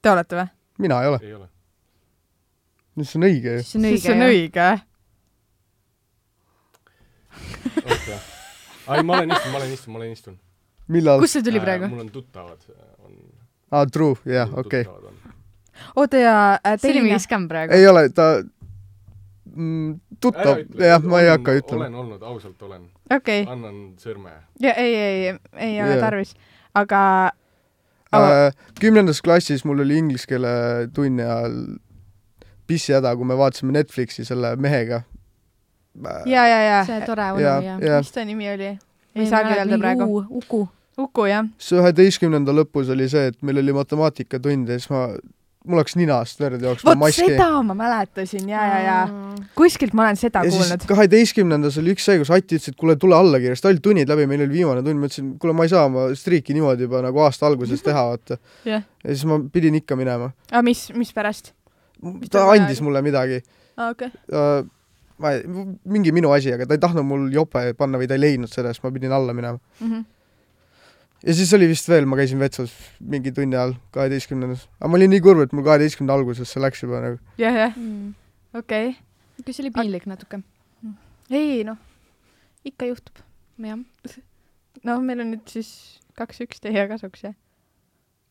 Te olete või ? mina ei ole . ei ole . see on õige ju . siis see on õige . siis see on õige . oota . ei , ma olen istunud , ma olen istunud , ma olen istunud . millal ? kust see tuli praegu ? Äh, mul on tuttavad , on . aa , true , jah , okei . oota ja äh, see oli teine mingi , skäm praegu . ei ole , ta mm, tuttav , jah , ma ei hakka ütlema . olen olnud , ausalt olen . okei , annan sõrme . ei , ei , ei ole Jaa. tarvis , aga Äh, kümnendas klassis mul oli inglise keele tunni ajal pissihäda , kui me vaatasime Netflixi selle mehega . Äh, ja , ja , see ja , tore onu ja , ja . ja mis ta nimi oli ? ma ei saagi öelda praegu . Uku . Uku , jah ? see üheteistkümnenda lõpus oli see , et meil oli matemaatikatund ja siis ma , mul hakkas ninast verd jooksma vot maski . seda ma mäletasin ja , ja , ja . kuskilt ma olen seda ja kuulnud siis . kaheteistkümnendas oli üks sai , kus Ati ütles , et kuule , tule alla kiiresti , olid tunnid läbi , meil oli viimane tund , ma ütlesin , kuule , ma ei saa oma striiki niimoodi juba nagu aasta alguses teha , vaata . Jah. ja siis ma pidin ikka minema . aga mis , mispärast ? Mis tal ta vaja andis oli? mulle midagi aa , okei . Äh, ma ei , mingi minu asi , aga ta ei tahtnud mul jope panna või ta ei leidnud seda , siis ma pidin alla minema . Mhm. ja siis oli vist veel , ma käisin vetsus mingi tunni ajal , kaheteistkümnendas . aga ma olin nii kurb , et mul kaheteistkümnenda alguses see läks juba nagu . jah , jah , kas okei . Mm. see oli piinlik natuke ? ei noh , ikka juhtub . jah . no meil on nüüd siis kaks-üks teie kasuks , jah ?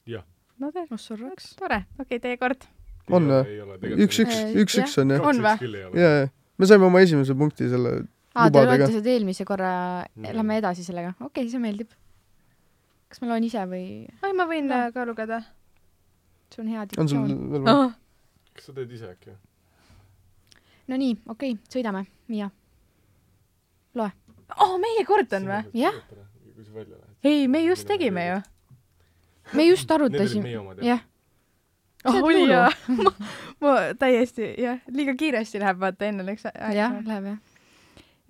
Jah. . no tere , oh surraks . tore , okei , teie kord . On või? või üks-üks , Äh, üks-üks on jah . On või? küll ei ole . jaa , jaa . me saime oma esimese punkti selle , aa , te Lubadega. loete seda eelmise korra , Mm. lähme edasi sellega . okei okay, , see meeldib . kas ma loen ise või ? ai , ma võin äh, ka lugeda . sul on hea on sul diktsioon . veel Oh. või ? kas sa teed ise äkki ? no nii , okei okay, , sõidame , Miia . oo , meie kord on või ?? Jah. . kui sa välja lähed . ei , me just tegime ju . me just Need olid arutasime . meie omad jah ? jah , ah See on oli hullu. jaa , ma , ma täiesti jah , liiga kiiresti läheb , vaata enne läks aeg jah ,. läheb jah .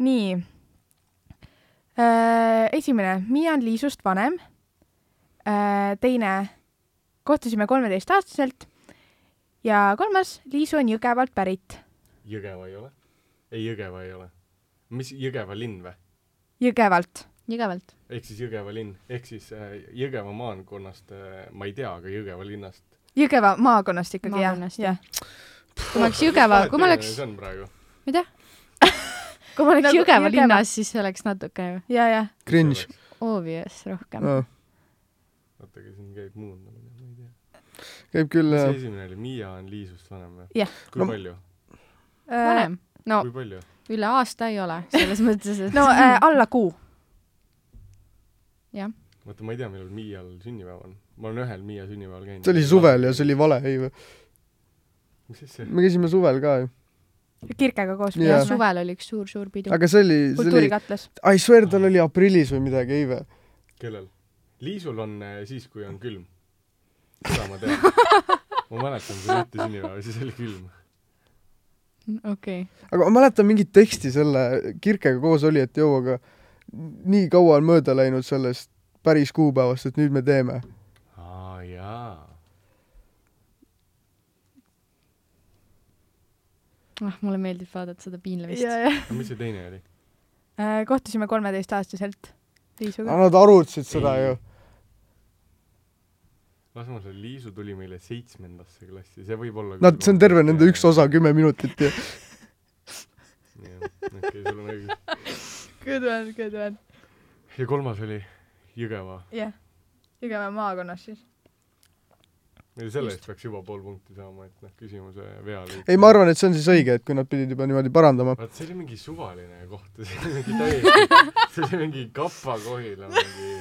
nii äh, . esimene , Miia on Liisust vanem äh, . teine , kohtusime kolmeteistaastaselt ja kolmas , Liisu on Jõgevalt pärit . Jõgeva ei ole ? ei , Jõgeva ei ole . mis , Jõgeva linn või ? Jõgevalt . Jõgevalt . ehk siis Jõgeva linn , ehk siis äh, Jõgeva maakonnast äh, ma ei tea , aga Jõgeva linnast . Jõgeva maakonnast ikkagi jah , Maakonnast, jah . kui ma oleks Jõgeva , kui ma oleks see , on praegu . mida ? kui ma Nagu oleks nagu Jõgeva Jõgeva- linnas , siis oleks natuke ja , ja . Cringe . obvious rohkem . käib oota , aga siin käib muundamine , ma ei tea . küll mis jah see . esimene oli , Miia on Liisust vanem või ? Jah. kui No- palju ? Äh, vanem . no kui palju ? üle aasta ei ole , selles mõttes , et no äh, alla kuu . jah , vaata , ma ei tea , millal Miial sünnipäev on . ma olen ühel Miia sünnipäeval käinud . see oli suvel ja see oli vale , ei või ? mis asja ? me käisime suvel ka ju . Kirkega koos . Jaa. ja suvel oli üks suur-suur pidu . aga see oli , see oli , kultuurikatlas . I swear tal oli aprillis või midagi , ei või ? kellel ? Liisul on äh, siis , kui on külm . seda ma tean . ma mäletan seda ette sünnipäeva , siis oli külm . okei . aga ma mäletan mingit teksti selle Kirkega koos oli , et jõu , aga nii kaua on mööda läinud sellest päris kuupäevast , et nüüd me teeme . aa jaa . ah , mulle meeldib vaadata seda piinlemist . ja , ja aga mis see teine oli ? Äh, kohtusime kolmeteistaastaselt Liisuga . Nad arutasid seda ju . las ma selle Liisu tuli meile seitsmendasse klassi , see võib olla . Nad , see on terve nende üks osa , kümme minutit ja jah , okei , sul on õigus . Ah. Good one , good one . ja kolmas oli Jõgeva . jah , Jõgeva maakonnas siis . selle eest peaks juba pool punkti saama , et noh , küsimuse veale . ei , ma . arvan , et see on siis õige , et kui nad pidid juba niimoodi parandama . vaat see oli mingi suvaline koht , see oli mingi täiesti , see oli mingi Kapa-Kohila mingi .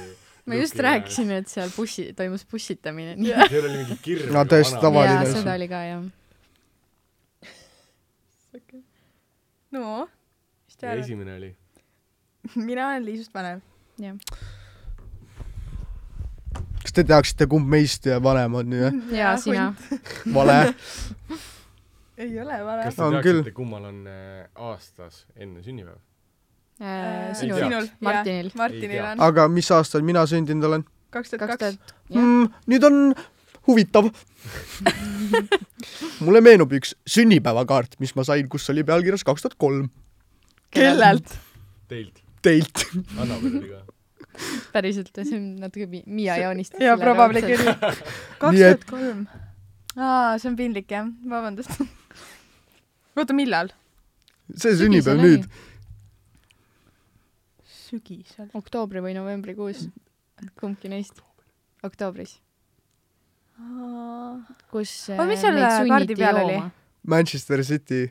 ma just rääkisin , et seal bussi , toimus bussitamine . seal oli mingi kirv . No täiesti tavaline jaa , asi. seda oli ka jah . no , mis te ja arvate ? esimene oli , mina olen Liisust vanem . jah , kas te teaksite , kumb meist vanem on ju , jah ? ja sina . vale . ei ole vale kas te On teaksite , kummal on äh, aastas enne sünnipäeva ? sinul, Ei tea. sinul. , Martinil . Ei Äh, Martinil tea. on aga mis aastal mina sündinud olen kaks kaks tuhat kaks . tuhat , jah , mm, ? nüüd on huvitav . mulle meenub üks sünnipäevakaart , mis ma sain , kus oli pealkirjas kaks tuhat kolm . kellelt ? Teilt , Teilt . Annabel oli ka . päriselt , see on natuke mi- Miia joonist . jaa , probably . küll . kaks Nii et- tuhat kolm . aa , see on piinlik jah , vabandust . oota , millal ? see sünnipäev nüüd .. sügisel . oktoobri või novembrikuus , kumbki neist . oktoobris , kus . äh, Oota, mis seal äh, kaardi peal oli? ? Manchester City .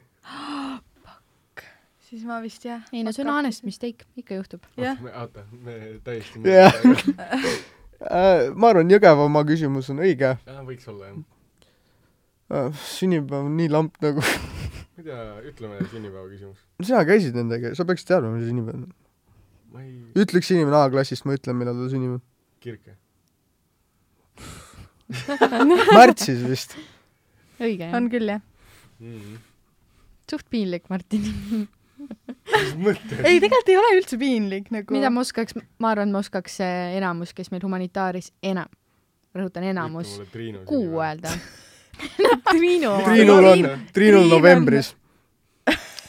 siis ma vist jah . ei no see on honest . mistake , ikka juhtub . jah , oota , me täiesti . Jah. Äh, ma arvan , Jõgevamaa küsimus on õige . võiks olla jah . sünnipäev on nii lamp nagu . ma ei tea , ütleme sünnipäeva küsimus . sina käisid nendega , sa peaksid teadma , mis sünnipäev on . ma ei , ütleks inimene A-klassist , ma ütlen , millal ta sünnib . Kirke . märtsis vist . õige jah on , küll jah . mis suht piinlik , Martin . mõttes ? ei , tegelikult ei ole üldse piinlik nagu . mida ma oskaks , ma arvan , ma oskaks eh, enamus , kes meil humanitaaris enam , rõhutan enamus ,. kuu . öelda . Triinu oma , Triinul on , Triinul Triin on- novembris ,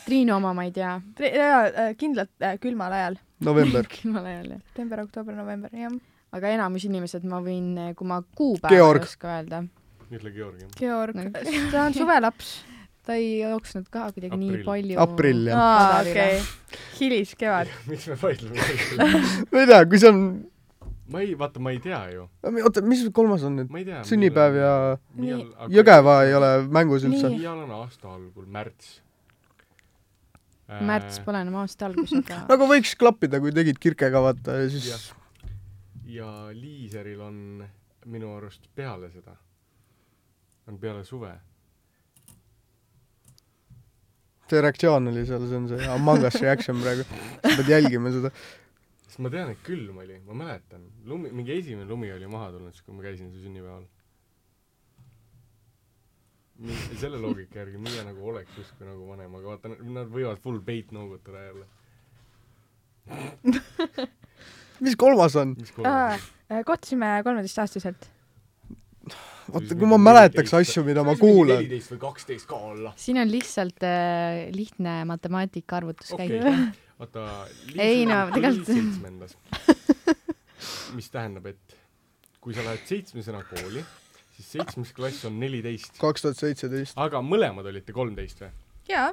Triinu oma ma ei tea . jaa , kindlalt äh, külmal ajal . november . jumala jälle . september , oktoober , november , jah . aga enamus inimesed , ma võin , kui ma kuupäeva Georg. ei oska öelda , ütle Georg jah . Georg No. , ta on suvelaps . ta ei jooksnud ka kuidagi nii Aprill. palju . aprill jah . aa , Kadalile. okei . hiliskevad . miks me vaidleme selle ma üle ? ei tea , kui see on , ma ei , vaata , ma ei tea ju . oota , mis kolmas on nüüd ? ma ei tea . sünnipäev ja Jõgeva ei . ole mängus üldse . Miial on aasta algul , märts . Äh, märts pole enam aasta algus , aga nagu võiks klappida , kui tegid kirkega , vaata , ja Jah. siis ja Liiseril on minu arust peale seda , on peale suve . see reaktsioon oli seal , see on see Among Us reaction praegu . sa pead jälgima seda . sest ma tean , et külm oli , ma mäletan , lumi , mingi esimene lumi oli maha tulnud , siis kui ma käisin su sünnipäeval . selle loogika järgi mina nagu oleks justkui nagu vanem , aga vaata , nad võivad full bait noogutada jälle . mis kolmas on ? mis kolmas oli ? äh, kohtusime kolmeteistaastaselt . vaata , kui ma mäletaks asju , mida ma kuulan . neliteist või kaksteist ka olla . siin on lihtsalt äh, lihtne matemaatika arvutuskäik okei okay. . oota . Ei no, tegelikult- seitsmendas . mis tähendab , et kui sa lähed seitsmesena kooli , siis seitsmes klass on neliteist , kaks tuhat seitseteist . aga mõlemad olite kolmteist või ? jaa .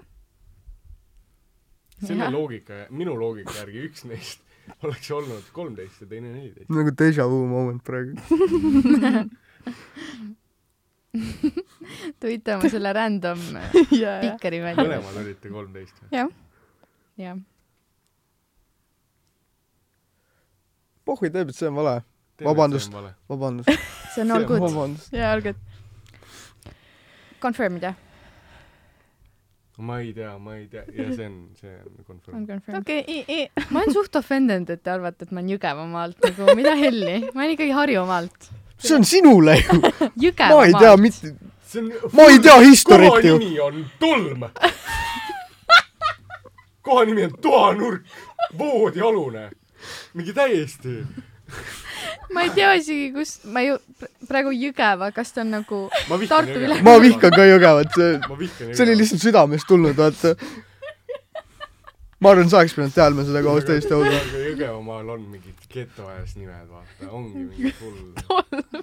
selle Jah. loogika , minu loogika järgi üks neist oleks olnud kolmteist ja teine neliteist . nagu déjà vu moment praegu . Twitter oma selle random jaa , pikeri välja . mõlemad olite kolmteist või ? jah . jah , pohhui teeb , et see on vale . Vabandust. . vabandust . see on all good . vabandust . jaa , olge , Confirmed jah , ma ei tea , ma ei tea ja see on , see on on confirm . confirmed . okei , ei , ei . ma olen suht offended , et te arvate , et ma olen Jõgevamaalt nagu , mida helli , ma olen ikkagi Harjumaalt . see on sinule ju . Jõgevamaalt . ma ei tea mitte , see on . ma ei tea historit ju koha . nimi on tolm . koha nimi on toanurk , voodialune , mingi täiesti . ma ei tea isegi , kus , ma ju , praegu Jõgeva , kas ta on nagu , ma vihkan Tartu Jõgevat. ma vihkan ka Jõgevat , see , ma see vihkan oli Jõgevat. lihtsalt südamest tulnud , vaata . ma arvan , sa oleks pidanud teadma seda koos teiste hulgas . Aga Jõgevamaal on mingid getoajas nimed , vaata , ongi mingi hull .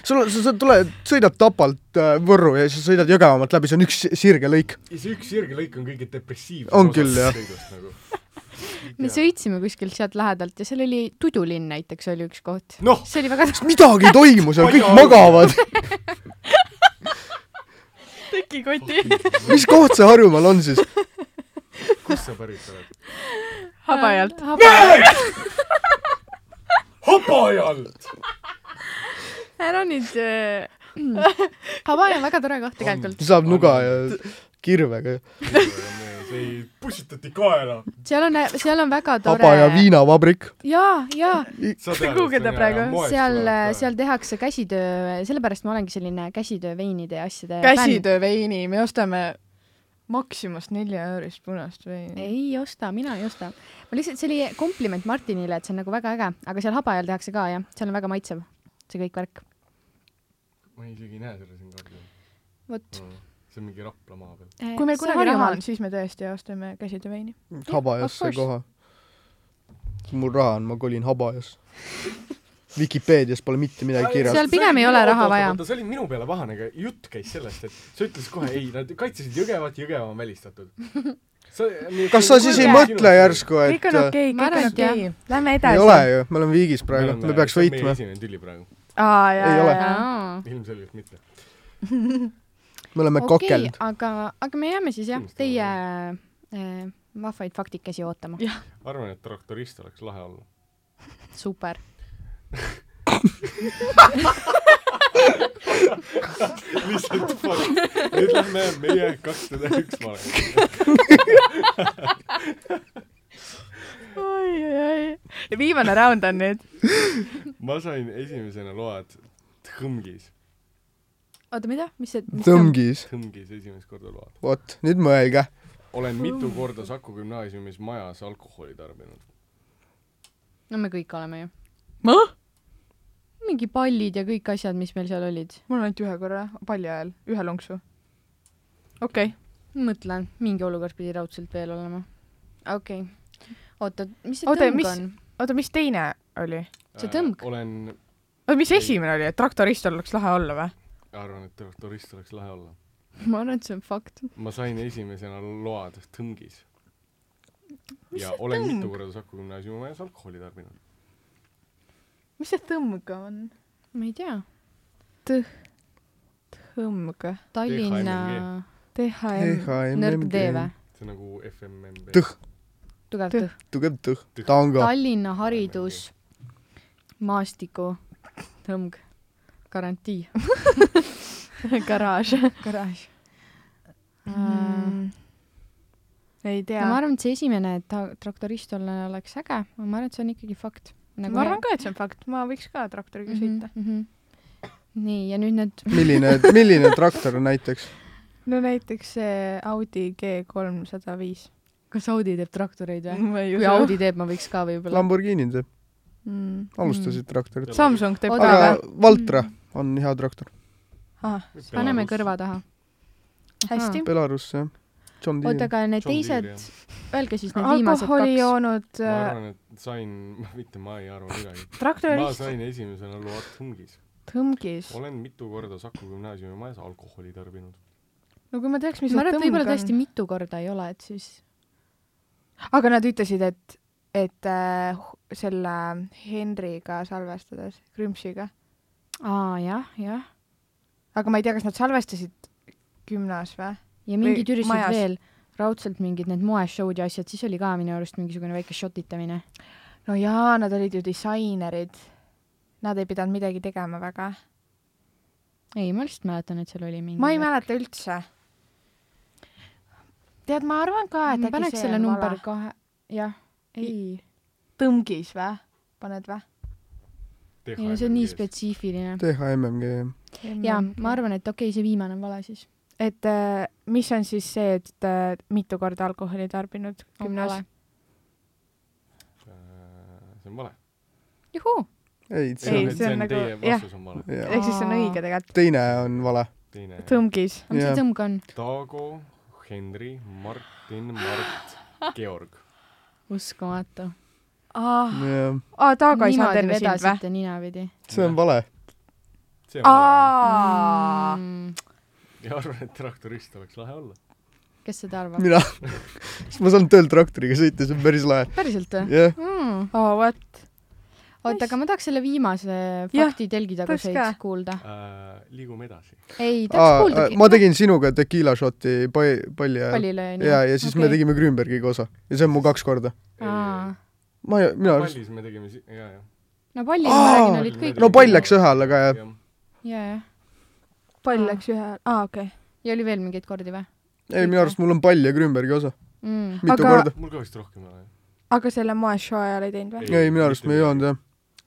sul on , sa , sa tuled , sõidad Tapalt äh, Võrru ja siis sõidad Jõgevamaalt läbi , see on üks sirge lõik . ja see üks sirgelõik on kõige depressiivsem On küll, jah. sõidust nagu . me sõitsime kuskilt sealt lähedalt ja seal oli Tudulinn näiteks oli üks koht . noh , see oli väga midagi ei toimu seal , kõik magavad . tekikoti mis koht see Harjumaal on siis ? kust sa pärit oled ? Habajalt. . Habajalt . ära nüüd äh, . Hawaii on väga tore koht tegelikult . saab nuga ja kirvega . ei , pussitati kaela . seal on , seal on väga haba ja tore . viinavabrik . jaa , jaa , guugeldab praegu. seal , äh, seal tehakse käsitöö , sellepärast ma olengi selline käsitöö veinide ja asjade Äh, fänn . käsitöö veini , me ostame Maximast nelja eurist punast veini . ei osta , mina ei osta . ma lihtsalt , see oli kompliment Martinile , et see on nagu väga äge , aga seal Habajal tehakse ka jah , seal on väga maitsev , see kõik värk . ma isegi ei näe seda siin kaardil . vot . see on mingi Rapla maa peal . kui meil kunagi Äh, raha on , siis me tõesti ostame käsitöö veini . Habajasse Of course. kohe . kui mul raha on , ma kolin Habajasse . Vikipeedias pole mitte midagi kirjas Seal- . pigem ei ole raha vaja. see oli minu peale vahane , aga jutt käis sellest , et sa ütlesid kohe ei , nad kaitsesid Jõgevat , Jõgeva on välistatud . kas sa siis ei Kuulge. mõtle ? järsku , et kõik on äh, okei , Ma kõik on arvan, et okei . Lähme ei edasi . ole ju , me oleme viigis praegu , me peaks võitma meie . esimene tüli praegu . aa , Ei ole. jaa , Aa. ilmselgelt mitte . me oleme okei , kakeld . aga , aga me jääme siis jah , Kindlasti teie äh, vahvaid faktikesi ootama . arvan , et traktorist oleks lahe olla . super . lihtsalt fuck . nüüd lähme meie kakssada üks maale . jaa . oi , oi , oi . viimane round on nüüd . ma sain esimesena load Hõmgis , oota , mida , mis see ? tõmgis , Hõmgis esimest korda load . vot , nüüd mõelge . olen mitu korda Saku Gümnaasiumis majas alkoholi tarbinud . no me kõik oleme ju . ma ? mingi pallid ja kõik asjad , mis meil seal olid . mul on ainult ühe korra , palja ajal , ühe lonksu . okei okay. , mõtlen , mingi olukord pidi raudselt veel olema . okei okay. . oota , mis see Oota, oota, tõmb mis- mis... on ? oota , mis teine oli ? See tõmb- Äh, olen , oota , mis Ei. esimene oli , et traktorist oleks lahe olla või ? arvan , et traktorist oleks lahe olla . ma arvan , et see on fakt . ma sain esimesena load Hõmgis . Mis ja see olen tõmb? mitu korda Saku Gümnaasiumi majas alkoholi tarbinud . mis see tõmg on ? ma ei tea . tõmg . Tallinna THM . nõrk-D või THMMG .. see on nagu FMMB . Tõh , tugev Tõ- tõh . tugev tõh , tango . Tallinna haridus , maastiku , tõmb , garantii . garaaž . garaaž . Mm. ei tea ja ma . arvan , et see esimene , et ta traktorist olla oleks äge , ma arvan , et see on ikkagi fakt . Nagu ma arvan ka , et nagu Mhm. see on fakt , ma võiks ka traktoriga sõita . -hmm. nii , ja nüüd need , milline , milline traktor näiteks ? no näiteks see Audi G kolmsada viis . kas Audi teeb traktoreid või ? ma ei kui Audi teeb , ma võiks ka võib-olla . Lamborghini teeb , Mm. alustasid traktorit . Samsung teeb ka aga või ? Valtra on hea traktor , ah, . paneme kõrva taha . hästi . Belarus jah . John oota , Deere . aga need John Deere, teised , öelge siis need viimased alkoholi kaks . joonud ma äh, arvan , et sain , mitte ma ei arva midagi . ma traktorist sain esimesena load Hõmgis . tõmgis . olen mitu korda Saku Gümnaasiumi majas alkoholi tarbinud . no kui ma teaks , mis ma see arvan , et tõmg võib-olla tõesti on . mitu korda ei ole , et siis aga nad ütlesid , et , et äh, hu- selle äh, Henriga salvestades , Krümpsiga . aa jah , jah . aga ma ei tea , kas nad salvestasid gümnas või ? ja mingid Või üritused majas. veel , raudselt mingid need moeshow'd ja asjad , siis oli ka minu arust mingisugune väike šotitamine . no jaa , nad olid ju disainerid . Nad ei pidanud midagi tegema väga . ei , ma lihtsalt mäletan , et seal oli mingi . ma ei mäleta üldse . tead , ma arvan ka , et ma äkki paneks see selle on number vale. kahe , jah , ei . tõmgis või ? paned või ? ei no see on nii . spetsiifiline . THMMG jah . jaa , ma . arvan , et okei okay, , see viimane on vale siis . et äh, mis on siis see , et äh, mitu korda alkoholi tarbinud on vale gümnas ?. see Äh, on vale . juhuu . ei , see Ei, on see on nagu- teie jah. vastus on vale . jah. ehk siis see on Aa. õige tegelikult . teine on vale . teine . tõmbkis . mis Jah. see tõmg on ? Taago , Henri , Martin , Mart , Georg . uskumatu . aa , jah , Taago ei saanud enne sind või ? ninapidi . see on vale . see on vale . aa , Mm. ja arvan , et traktorist oleks lahe olla . kes seda arvab ? mina , sest ma saan tööl traktoriga sõita , see on päris lahe . päriselt või ? jah , Mm. oo vot . oota , aga ma tahaks selle viimase Jah, fakti telgitaguseid tahaks ka. kuulda . Äh, liigume edasi . ei , tahaks aa , kuuldagi . ma tegin sinuga tequila shot'i pa- , palli ajal . pallile onju . ja , ja siis okay. me tegime Grünbergiga osa ja see on mu kaks korda . Aa. ma , mina arust- pallis me tegime si- , ja , ja . no pallil ma räägin , Aa! olid kõik . no pall läks ühe alla ka jah . jah . ja , ja , pall Aa. läks ühe , aa okei okay. . ja oli veel mingeid kordi või ei , minu arust mul on pall ja Grünbergi osa , mm. ? mitu Aga- aga... korda . mul ka vist rohkem ei ole . aga selle moeshow ajal ei teinud või ? ei , minu arust me ei joonud jah .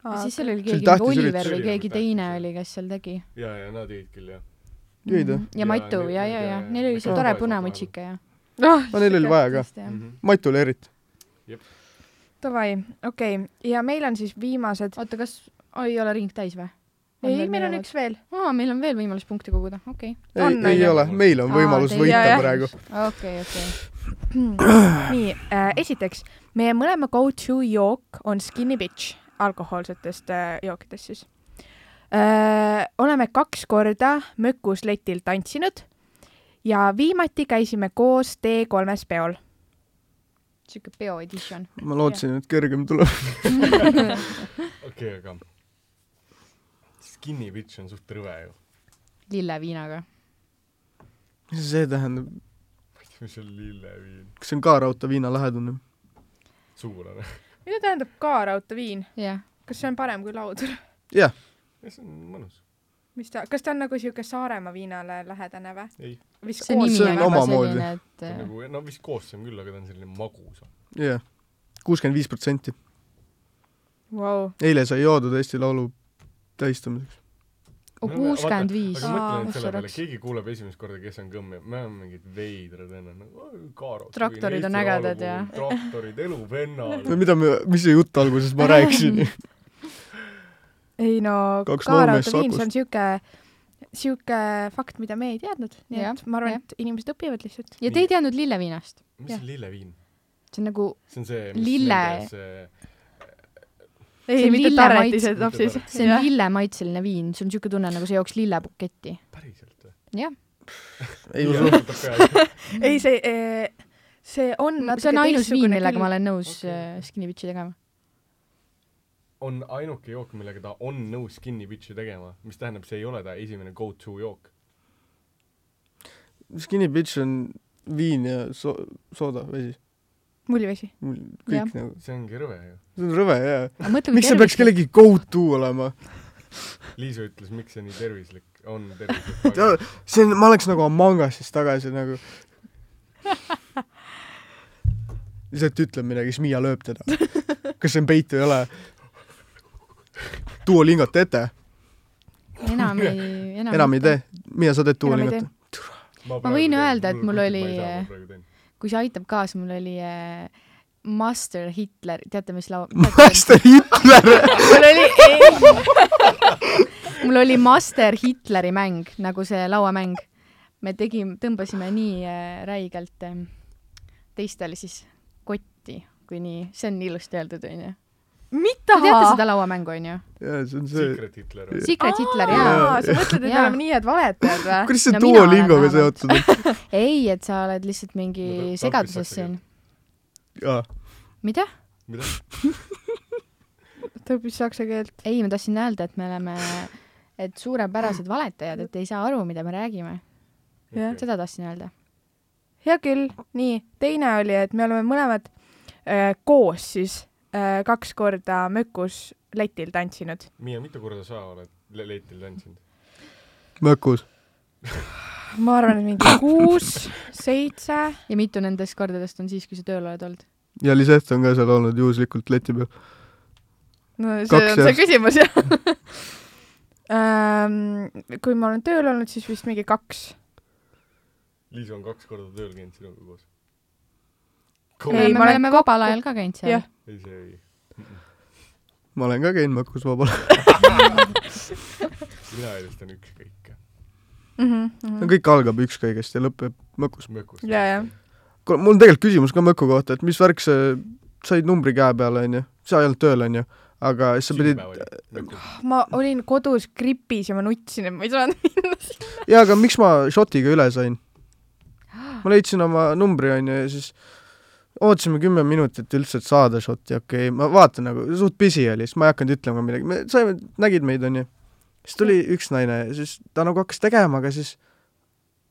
ja siis seal oli See oli nagu keegi , tähtis Oliver üritus. või keegi Ülitähtis, teine jah. oli , kes seal tegi . ja , ja nad jõid küll , jah . jõid või ? ja Matu neil- ja , ja , ja- ja ja- neil oli see ja- tore ja- punamutsike ja . ah , aga neil oli vaja ka . Mhm. Matule eriti . davai , okei okay. , ja meil on siis viimased . oota , kas oh, ei ole ring täis või ? ei , meil on üks . veel . aa , meil on veel võimalus punkte koguda , okei . ei On , ei või? ole , meil on Aa, võimalus teie- võita jajah. praegu . okei , okei . nii äh, , esiteks meie mõlema go to jook on skinny bitch alkohoolsetest äh, jookidest siis äh, . oleme kaks korda mökus letil tantsinud ja viimati käisime koos T3-s peol . siuke peo edition . ma lootsin , et kergem tuleb . okei , aga skinny bitch on suht rõve ju . lilleviinaga . mis see tähendab ? ma ei tea , mis on lilleviin . kas see on ka raudteeviina lähedane ? sugulane . mida tähendab kaarautoviin ? jah . kas see on parem kui laudur ? jah , ja see on mõnus . mis ta , kas ta on nagu sihuke Saaremaa viinale lähedane või ? ei , see nimi see on on juba omamoodi. selline , et ta on äh, nagu , no vist koostöö küll , aga ta on selline magus . Oh, jah . kuuskümmend viis protsenti . wow. . eile sai joodud Eesti Laulu tähistamiseks . oh, kuuskümmend viis . Ah, aga mõtlen nüüd selle peale , traktorid keegi kuuleb esimest korda , kes on kõmm ja me oleme mingid veidrad vennad nagu "Oi, Kaaro . Traktorid on ägedad ja- traktorid , elu vennal . no mida me , mis see jutt alguses ma rääkisin ? ei no , Kaks noormeest kaarautoviin , see Sakust. on sihuke , sihuke fakt , mida me ei teadnud , nii Jah, ja, et ma arvan jah. , et inimesed õpivad lihtsalt . ja te ei teadnud lilleviinast ? mis on lilleviin ? see on nagu , see on see , mis Lille. nende see , ei on , mitte noh, lille tarretised maits- hoopis . see on lillemaitseline viin , sul on siuke tunne , nagu sa jooks lillebuketti . päriselt või ? jah . ei usu . ei , see , see on see on ainus viin , millega ma olen . olen nõus Okei. okay. skinny bitch'i tegema . on ainuke jook , millega ta on nõus skinny bitch'i tegema , mis tähendab , see ei ole ta esimene go to jook . Skinny bitch on viin ja so- , sooda , vesi . mullivesi . kõik Jah. ja. nagu , see ongi rõve ju . see on rõve jaa . aga mõtle , miks see peaks kellegi go to olema ? Liisu ütles , miks see nii tervislik , on tervislik . see on , ma oleks nagu Among Usis tagasi nagu . lihtsalt ütleb midagi , siis Miia lööb teda . kas see on peit või ei ole ? Duolingot ette , enam ei , enam, enam ei tee . Miia , sa teed Enam ei Duolingot ? ma võin öelda, et mul oli- äh, kui see aitab ka , siis mul oli äh, Master Hitler , teate , mis laul ? Master Hitler , mul oli , mul oli Master Hitleri mäng , nagu see lauamäng . me tegime , tõmbasime nii äh, räigelt äh, teistel siis kotti , kui nii , see on ilusti öeldud , onju . Te teate mida ? seda lauamängu , onju ? jaa , see on see . Secret Hitler või ? Secret Hitler , jaa . jaa. sa mõtled , et me Jaa. oleme nii head valetajad või ? kuidas see No no, mina olen Duolingoga vähemalt. seotud on ? ei , et sa oled lihtsalt No ta- mingi ta segaduses õpib saksa siin . jaa , mida ? mida ? ta õppis saksa keelt . ei , ma tahtsin öelda , et me oleme , et suurepärased valetajad , et ei saa aru , mida me räägime . Jah. Okei. seda tahtsin öelda . hea küll , nii , teine oli , et me oleme mõlemad äh, koos siis äh, kaks korda mökus letil tantsinud . Miia , mitu korda sa oled le- letil tantsinud ? mökus . ma arvan , et mingi kuus , seitse ja mitu nendest kordadest on siis , kui sa tööl oled olnud ? ja Lisette on ka seal olnud juhuslikult leti peal . no see Kaks on see järjest. küsimus jah Ehm, kui ma olen tööl olnud , siis vist mingi kaks . Liis on kaks korda tööl käinud sinuga koos . Ei, me ma olen oleme vabal ajal ka käinud seal jah. . ei , see ei . ma olen ka käinud Mökus vabal . mina eelistan ükskõike . Mm. mhmh . kõik algab ükskõigest ja lõpeb Mökus . mökust . ja , ja . kuule , mul on tegelikult küsimus ka Möku kohta , et mis värk see , said numbri käe peale , onju , sa ei olnud tööl , onju , aga siis sa pidid , ma olin kodus gripis ja ma nutsin , et ma ei saanud minna . jaa , aga miks ma šotiga üle sain ? ma leidsin oma numbri , onju , ja siis ootasime kümme minutit üldse , et saada šotti , okei okay. , ma vaatan nagu , suht pisi oli , siis ma ei hakanud ütlema midagi , me saime , nägid meid , onju . siis tuli üks naine ja siis ta nagu hakkas tegema , aga siis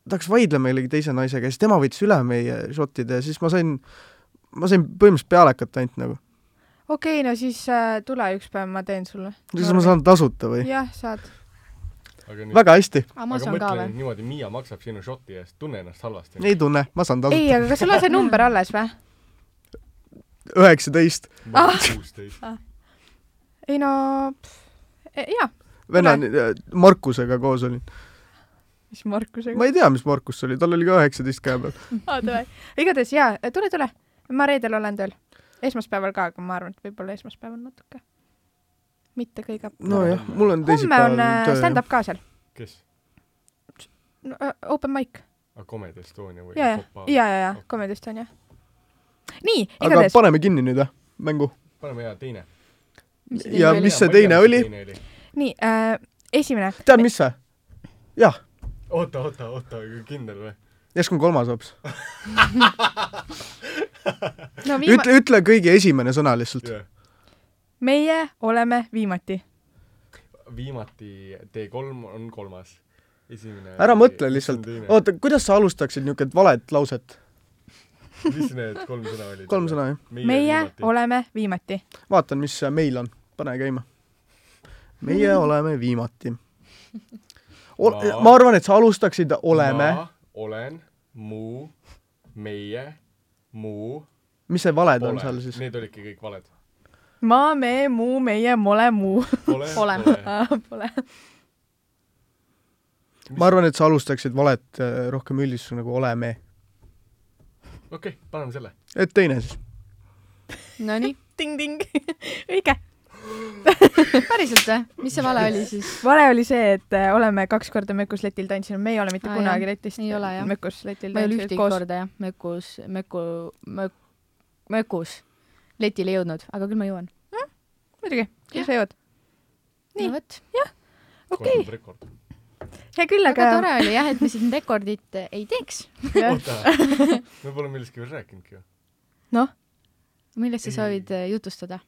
ta hakkas vaidlema kellegi teise naisega ja siis tema võttis üle meie šottide ja siis ma sain , ma sain põhimõtteliselt pealekat ainult nagu . okei okay, , no siis äh, tule üks päev , ma teen sulle . siis ma saan tasuta või ? jah , saad . aga nüüd , väga hästi , aga ma aga saan ka mõtle või nüüd ? niimoodi , Miia maksab sinu šoti eest , tunne ennast halvasti . ei tunne , ma saan tasuta . ei , aga kas sul on see number alles või ? üheksateist , ma olen Ah! kuusteist . ei no , jaa . venna , äh, Markusega koos olin . mis Markusega ? ma ei tea , mis Markus see oli , tal oli ka üheksateist käe peal . aa , tule . igatahes jaa , tule , tule . ma reedel olen tööl . esmaspäeval ka , aga ma arvan , et võib-olla esmaspäeval natuke . mitte kõige . nojah , mul on homme teisipäeval on äh, töö . stand-up ka seal kes ? no, . Open mic . Comedy Estonia või ? ja , ja , ja , ja , ja Comedy Estonia . nii , aga igatahes . paneme kinni nüüd jah , mängu . paneme hea teine . Ja mis see teine oli? nii äh, , esimene . tead , mis see ? jah , oota , oota , oota , kindel või ? järsku on kolmas hoopis . no viima- , ütle , ütle kõigi esimene sõna lihtsalt . meie oleme viimati . viimati T3 on kolmas , esimene . ära mõtle lihtsalt . oota , kuidas sa alustaksid niisugust valet lauset ? mis need kolm sõna olid ? kolm sõna , jah . meie . oleme viimati . vaatan , mis see meil on . pane käima . meie oleme viimati . Ma- ma arvan , et sa alustaksid oleme . olen , mu , meie , mu . mis see valed on seal siis ? Need olidki kõik valed . ma , me , mu , meie , mole , mu . Pole , Pole. Pole . ma arvan , et sa alustaksid valet äh, rohkem üldistusega nagu oleme . okei , paneme selle . et teine siis . Nonii , ting-ting . õige . päriselt või ? mis see vale oli siis ? vale oli see , et äh, oleme kaks korda Mökus letil tantsinud , me ei ole mitte Aa, ah, kunagi letist Ei ole, jah. Mökus letil ma ei ole tantsinud ühtegi koos . korda jah , mökus , möku , mök- , mökus letile jõudnud , aga küll ma jõuan . muidugi , Jah. küll sa jõuad . Nii. no vot , okei , rekord . hea küll , väga aga tore oli jah , et me siin rekordit eh, ei teeks . oota , me pole millestki veel rääkinudki ju . millest sa Ei. soovid eh, jutustada ?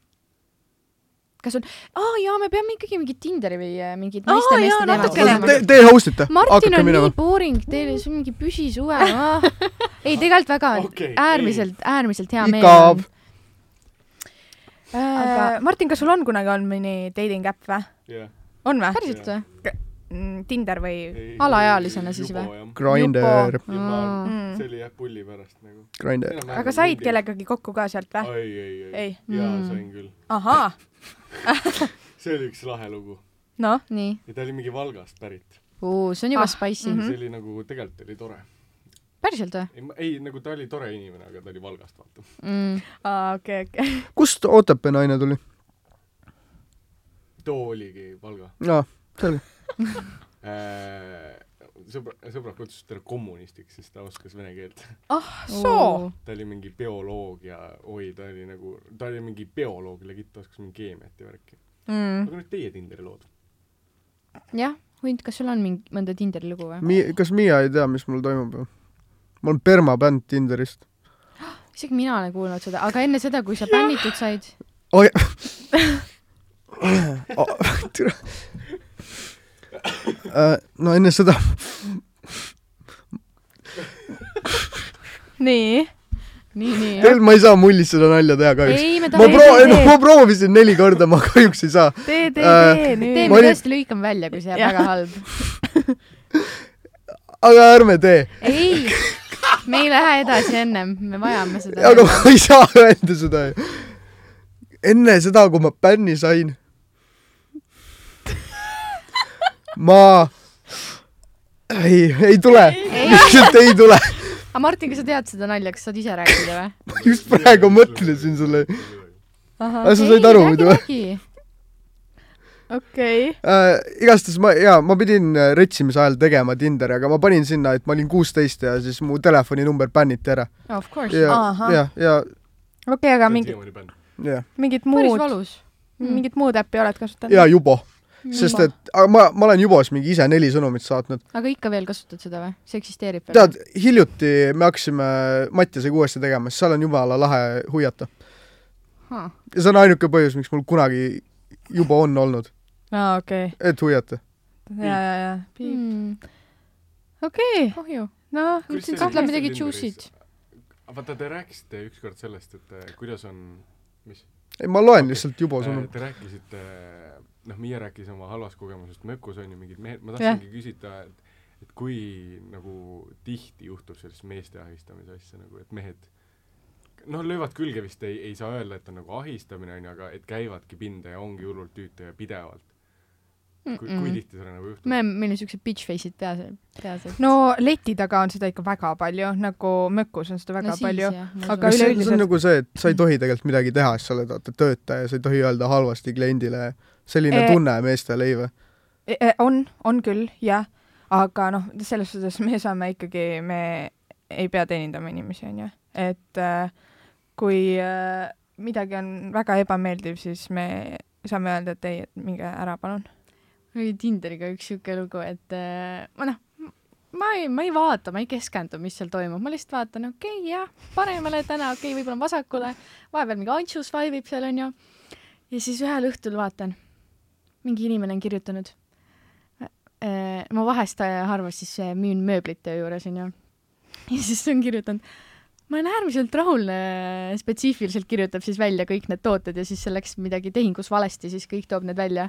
kas on , aa jaa , me peame ikkagi mingit Tinderi või eh, mingit Aa, naiste jaa, meeste natukene. teemat . Te , te host ite . Martin hakake on minema nii . boring , teil on mingi püsisuve , ei tegelikult väga Okei, okay, äärmiselt , äärmiselt hea meel Igav. on . aga... Aga- äh, Martin , kas sul on kunagi olnud mõni dating äpp või ? jah . on või ? päriselt või ? Tinder või ? Alaealisena siis või? ? Grinder , Mm. see oli jah pulli pärast nagu . Grinder . aga said ? kellegagi kokku ka sealt või ? ei , ei , ei Ei. . jaa , Mm. sain küll . ahaa , see oli üks lahe lugu noh , nii , ja ta oli mingi Valgast pärit . see on juba Ah, ah, spicy mm . mhm. -hmm. see oli nagu , tegelikult oli tore . päriselt või ei , ei nagu ta oli tore inimene , aga ta oli Valgast , vaata . mm. ? okei , okei . kust Otepää naine tuli ? too oligi Valga aa , selge . äh, . sõbra , sõbrad kutsusid teda kommunistiks , sest ta oskas vene keelt . Ah, soo .. ta oli mingi bioloog ja oi , ta oli nagu , ta oli mingi bioloog , legit ta oskas mingi keemiat ja värki . Mm. aga nüüd teie Tinderi lood . jah , Hunt , kas sul on mingi , mõnda Tinderi lugu või ? Mi- , kas Miia ei tea , mis mul toimub või ? ma olen permabänd Tinderist . isegi mina olen kuulnud seda , aga enne seda , kui sa bännitud said , oi . Oh, türa . no enne seda , nii , nii , nii . tegelikult ma ei saa mullisseda nalja teha kahjuks . ei , me ma tahame , proo- , ei, no ei. ma proovisin neli korda , ma kahjuks ei saa . tee , tee , Äh, tee tee , nüüd . ma me olin- tõesti lõikame välja , kui see jääb Jah. väga halb . aga ärme tee . ei , me ei lähe edasi ennem , me vajame seda . aga ma ei saa öelda seda ju . enne seda , kui ma bänni sain , ma ei , ei tule , lihtsalt ei tule . aga Martin , kas sa tead seda nalja , kas saad ise rääkida või ? just praegu mõtlesin sulle . ahah , aga sa said aru muidu või ?? okei okay. . äh, . igastahes ma , jaa , ma pidin äh, retsimise ajal tegema Tinderi , aga ma panin sinna , et ma olin kuusteist ja siis mu telefoninumber bänniti ära . Oh, of course . ja Ahah. , ja , ja , okei okay, , aga mingi , ja , mingit päris muud , valus . mingit muud äppi oled kasutanud ? ja Jubo . sest et aga ma , ma olen Jubos mingi ise neli sõnumit saatnud . aga ikka veel kasutad seda või ? see eksisteerib veel ? tead , hiljuti me hakkasime Mattiasega uuesti tegema , sest seal on jumala lahe huiata . ja see on ainuke põhjus , miks mul kunagi Jubo on olnud , aa , okei . et huiata . ja , ja , ja . oh okei , ju . noh , mõtlesin , et ütleb midagi juicy't . vaata , te rääkisite ükskord sellest , et äh, kuidas on , ei , ma loen lihtsalt Jubo sõnumit . te rääkisite , noh , Miia rääkis oma halvast kogemusest mökus on ju mingid mehed , ma tahtsingi küsida , et , et kui nagu tihti juhtub sellist meeste ahistamise asja nagu , et mehed noh , löövad külge vist ei , ei saa öelda , et on nagu ahistamine on ju , aga et käivadki pinda ja ongi hullult tüütu ja pidevalt . kui , kui tihti seda nagu juhtub me ? oleme , meil on siuksed bitch face'id peas , peas . no leti taga on seda ikka väga palju , nagu mökus on seda väga no, palju . aga aga see, üleüldiselt- see on nagu see , et sa ei tohi tegelikult midagi teha , sest sa oled vaata töötaja , sa ei tohi öelda halvasti kliendile . selline Eh. e tunne meestel ei või ? E- e- on , on küll , jah , aga noh , selles suhtes me saame ikkagi , me ei pea teenindama inimesi , onju , et äh, kui äh, midagi on väga ebameeldiv , siis me saame öelda , et ei , et minge ära , palun . oli Tinderiga üks siuke lugu , et äh, ma noh , ma ei , ma ei vaata , ma ei keskendu , mis seal toimub , ma lihtsalt vaatan , okei okay, , jah , paremale täna , okei okay, , võib-olla vasakule , vahepeal mingi Antsu swipe ib seal onju . ja siis ühel õhtul vaatan , mingi inimene on kirjutanud . ma vahest äh, harva siis äh, müün mööblit töö juures onju . ja siis on kirjutanud , ma olen äärmiselt rahul , spetsiifiliselt kirjutab siis välja kõik need tooted ja siis seal läks midagi tehingus valesti , siis kõik toob need välja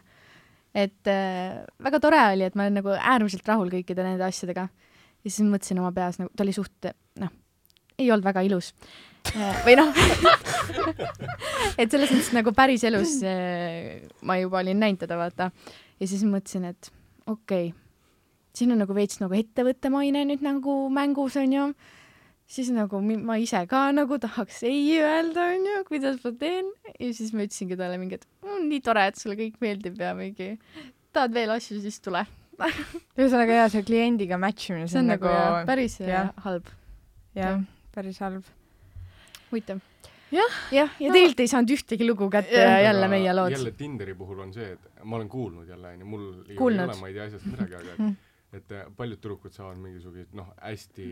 et äh, väga tore oli , et ma olen nagu äärmiselt rahul kõikide nende asjadega . ja siis mõtlesin oma peas nagu , ta oli suht , noh , ei olnud väga ilus . või noh , et selles mõttes nagu päriselus äh, ma juba olin näinud teda , vaata . ja siis mõtlesin , et okei okay, , siin on nagu veits nagu ettevõtte maine nüüd nagu mängus , onju siis nagu mi- ma ise ka nagu tahaks ei öelda , onju , kuidas ma teen ja siis ma ütlesingi talle mingi , et "Mm, nii tore , et sulle kõik meeldib ja mingi tahad veel asju , siis tule . ühesõnaga jaa , see kliendiga match imine , see on nagu jah, päris jah. jah. halb , jah , päris halb . huvitav . Jah. jah , ja tegelikult ei saanud ühtegi lugu kätte ja Jah. Äh, jälle meie lood . jälle Tinderi puhul on see , et ma olen kuulnud jälle onju , mul ei- ei Kuulnud. Hmm. ole , ma ei tea asjast midagi , aga et- et äh, paljud tüdrukud saavad mingisuguseid noh , hästi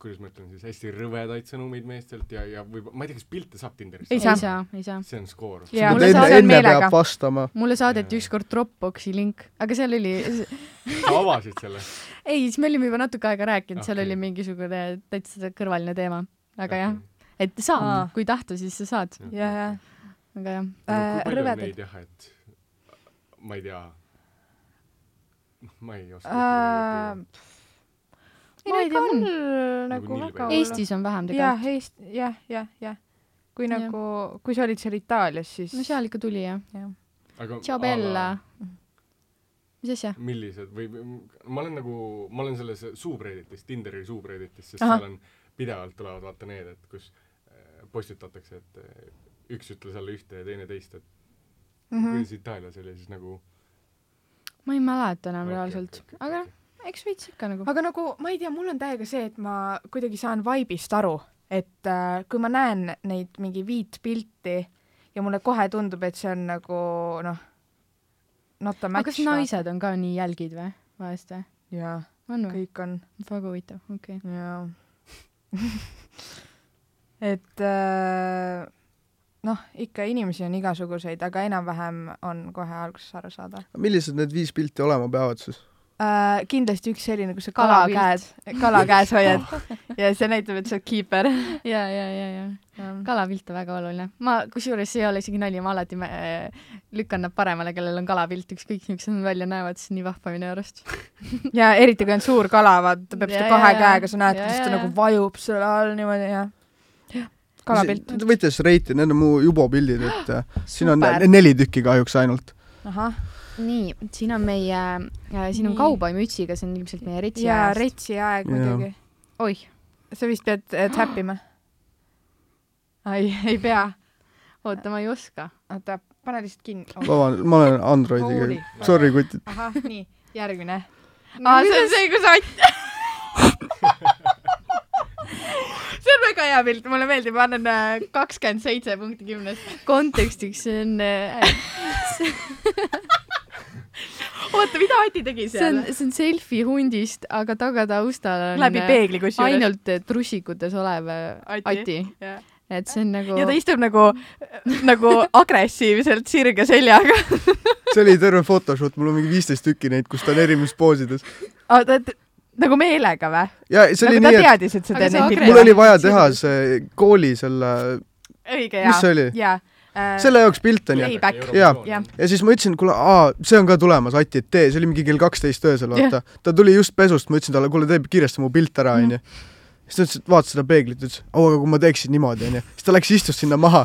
kuidas ma ütlen siis , hästi rõvedaid sõnumeid meestelt ja , ja võib-olla , ma ei tea , kas pilte saab Tinderist ? Ei ei saa , ei saa . see on skoor . Jaa, Et mulle enne , saadeti enne meelega. peab vastama . mulle saadeti Jaa. ükskord Dropboxi link , aga seal oli , sa avasid selle ? ei , siis me olime juba natuke aega rääkinud , seal Okei. oli mingisugune täitsa kõrvaline teema , aga jah , et Aa. saab , kui tahta , siis sa saad , ja , ja . aga jah . Äh, kui palju on rõvedaid. neid jah , et ma ei tea . ma ei oska Äh, uh, . Ei, ma no ei ikka tea , on. mul Nagu nagu nilve. väga . Eestis on vähem tegelikult . jah , Eest- , jah , jah , jah . kui Jah. nagu , kui sa olid seal Itaalias , siis no seal ikka tuli jah . Mhm. aga Ciao a la- Bella . mis asja ? millised või või- ma olen nagu , ma olen selles subredditis , Tinderi subredditis , sest Ahah. seal on pidevalt tulevad vaata need , et kus äh, postitatakse , et äh, üks ütles jälle ühte ja teine teist , et mm Mhm. -hmm. kuidas Itaalias oli siis nagu ma ei mäleta enam Okei, reaalselt okei, , okei, aga okei. noh, eks veits ikka nagu . aga nagu ma ei tea , mul on täiega see , et ma kuidagi saan vibe'ist aru , et äh, kui ma näen neid mingi viit pilti ja mulle kohe tundub , et see on nagu noh , not a aga match . kas naised on ka nii jälgid või , vahest või ? jaa , on või ? kõik on , väga huvitav , okei okay. . jaa . et äh, noh , ikka inimesi on igasuguseid , aga enam-vähem on kohe alguses aru saada millised need viis pilti olema peavad siis ? äh, . kindlasti üks selline , kus sa kala Kalapilt. käes , kala käes hoiad ja see näitab , et sa oled kiiper . ja , ja , ja , ja kalapilt on väga oluline . ma , kusjuures see ei ole isegi nali , ma alati mä- äh, lükkan nad paremale , kellel on kalapilt , ükskõik millised nad välja näevad , siis on nii vahva minu arust . ja eriti , kui on suur kala , vaata , ta peab Ja, seda ja, kahe ja. käega , sa näed , Ja, kuidas ja, ta ja. nagu vajub selle all niimoodi ja . kalapilt . Te võite siis reiti , need on mu Jubo pildid , et äh, siin on Super. neli tükki kahjuks ainult . ahah , nii , siin on meie , siin on Nii. kauboimütsiga , see on ilmselt meie retsi ja ajast . retsi aeg Jaa. muidugi . oih , sa vist pead äh, täppima ? ei , ei pea . oota , ma ei oska . oota , pane lihtsalt kinni . vabandust , ma olen Androidiga Hooli. . Sorry , kutid . ahah , nii , järgmine . aa , see on see , kus Ott see on väga hea pilt , mulle meeldib , ma annan äh, kakskümmend seitse punkti kümnest . kontekstiks see on , äh, see oota , mida Oti tegi on seal ?, see on selfie hundist , aga tagataustal on äh, läbi peegli kusjuures . ainult trussikutes olev Ati. Ati, ati. , Jah. et see on nagu ja ta istub nagu , nagu agressiivselt sirge seljaga . see oli terve photoshoot , mul on mingi viisteist tükki neid , kus ta on erimispoosides . oota , et nagu meelega või ? ja see oli nagu ta nii , teadis , et sa Aga teed see neid et agressiivne- pilte . mul oli vaja teha see kooli selle , õige mis see jaa , oli , jaa . Äh, selle jaoks pilt onju . Playback. Jah. ja siis ma ütlesin , kuule , aa , see on ka tulemas , Ati , et tee , see oli mingi kell kaksteist öösel , vaata . ta tuli just pesust , ma ütlesin talle , kuule , tee kiiresti mu pilt Mhm. ära , onju . siis ta ütles , et vaata seda peeglit , ütles , oo , aga kui ma teeksin niimoodi , onju . siis ta läks , istus sinna maha .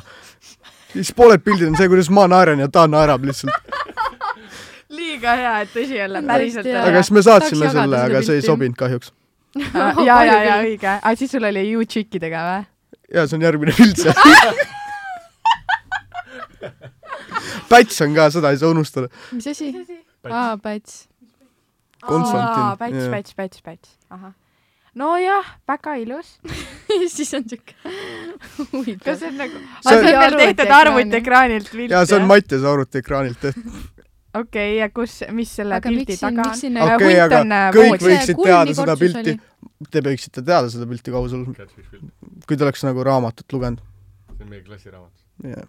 siis pooled pildid on see , kuidas ma naeran ja ta naerab lihtsalt . liiga hea , et tõsi olla , päriselt Tõesti, olla aga . siis me Tahaks saatsime jagada selle , seda aga see ei pilti. sobinud kahjuks . jaa , Äh, jaa , jaa , õige . aga siis sul oli ju tšikkidega või ? ja see on järgmine pilt seal Päts on ka , seda ei saa unustada . mis asi ? aa , Päts . Konstantin, Aa, päts , jah. päts , päts , päts , ahah . nojah , väga ilus . siis on siuke kas huvitav . see on nagu , See see on nagu oli veel tehtud arvutiekraanilt pilt ja see on . Mattias arvutiekraanilt tehtud . okei , ja kus , mis selle aga pildi miks siin , taga miks on ? siin Okei, hunt aga on, äh, kõik voodis. võiksid See teada kulmi seda kortsus pilti . Te võiksite teada seda pilti kausal , see kui te oleks nagu raamatut lugenud on meie klassiraamat . yeah. .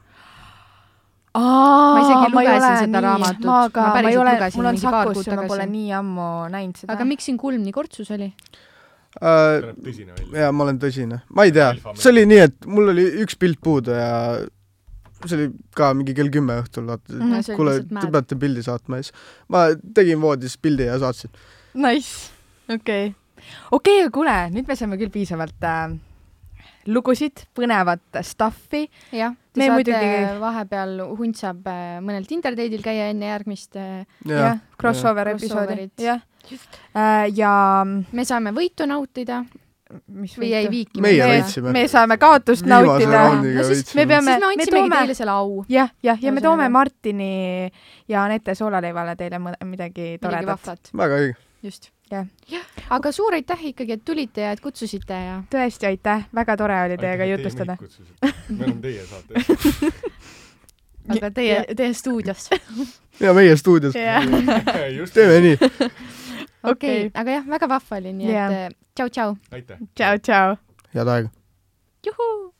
ma isegi lugesin seda raamatut. ma ka Ma , ma ei päriselt ole , lugesin mul on mingi paar kuud Sakus ja ma tagasi. pole nii ammu näinud seda . aga miks siin kulm nii kortsus oli ? see Uh, näeb tõsine välja . ja ma olen tõsine , ma ei tea , see oli nii , et mul oli üks pilt puudu ja see oli ka mingi kell kümme õhtul , vaata . Mhm. kuule , te peate pildi saatma ja siis ma tegin voodis pildi ja saatsin . Nice , okei okay. . okei okay, , kuule , nüüd me saime küll piisavalt äh, lugusid , põnevat stuff'i . jah , te Me saate muidugi- vahepeal , hunt saab äh, mõnel Tinder date'il käia enne järgmist . äh, jah jah , crossover jah. episoodi Crossoverit. . jah . Äh, ja me saame võitu nautida mis või jäi viiki . Meie me, võitsime. me saame kaotust viimase nautida . raundiga No siis veits . me peame siis me , me andsimegi toome... toome , teile selle au . jah , jah , ja me toome Ühesõnaga. Martini ja Anette Soolaleivale teile mõ- midagi midagi toredat . vahvat , väga õige . just Jah. . aga suur aitäh ikkagi , et tulite ja et kutsusite ja tõesti , aitäh , väga tore oli teiega jutustada .. me oleme teie saates . aga teie , teie stuudios . ja meie stuudios . just , teeme nii . okei , aga jah , väga vahva oli , nii eh, Jah. et äh, tšau-tšau . aitäh . tšau , tšau . head aega . juhuu .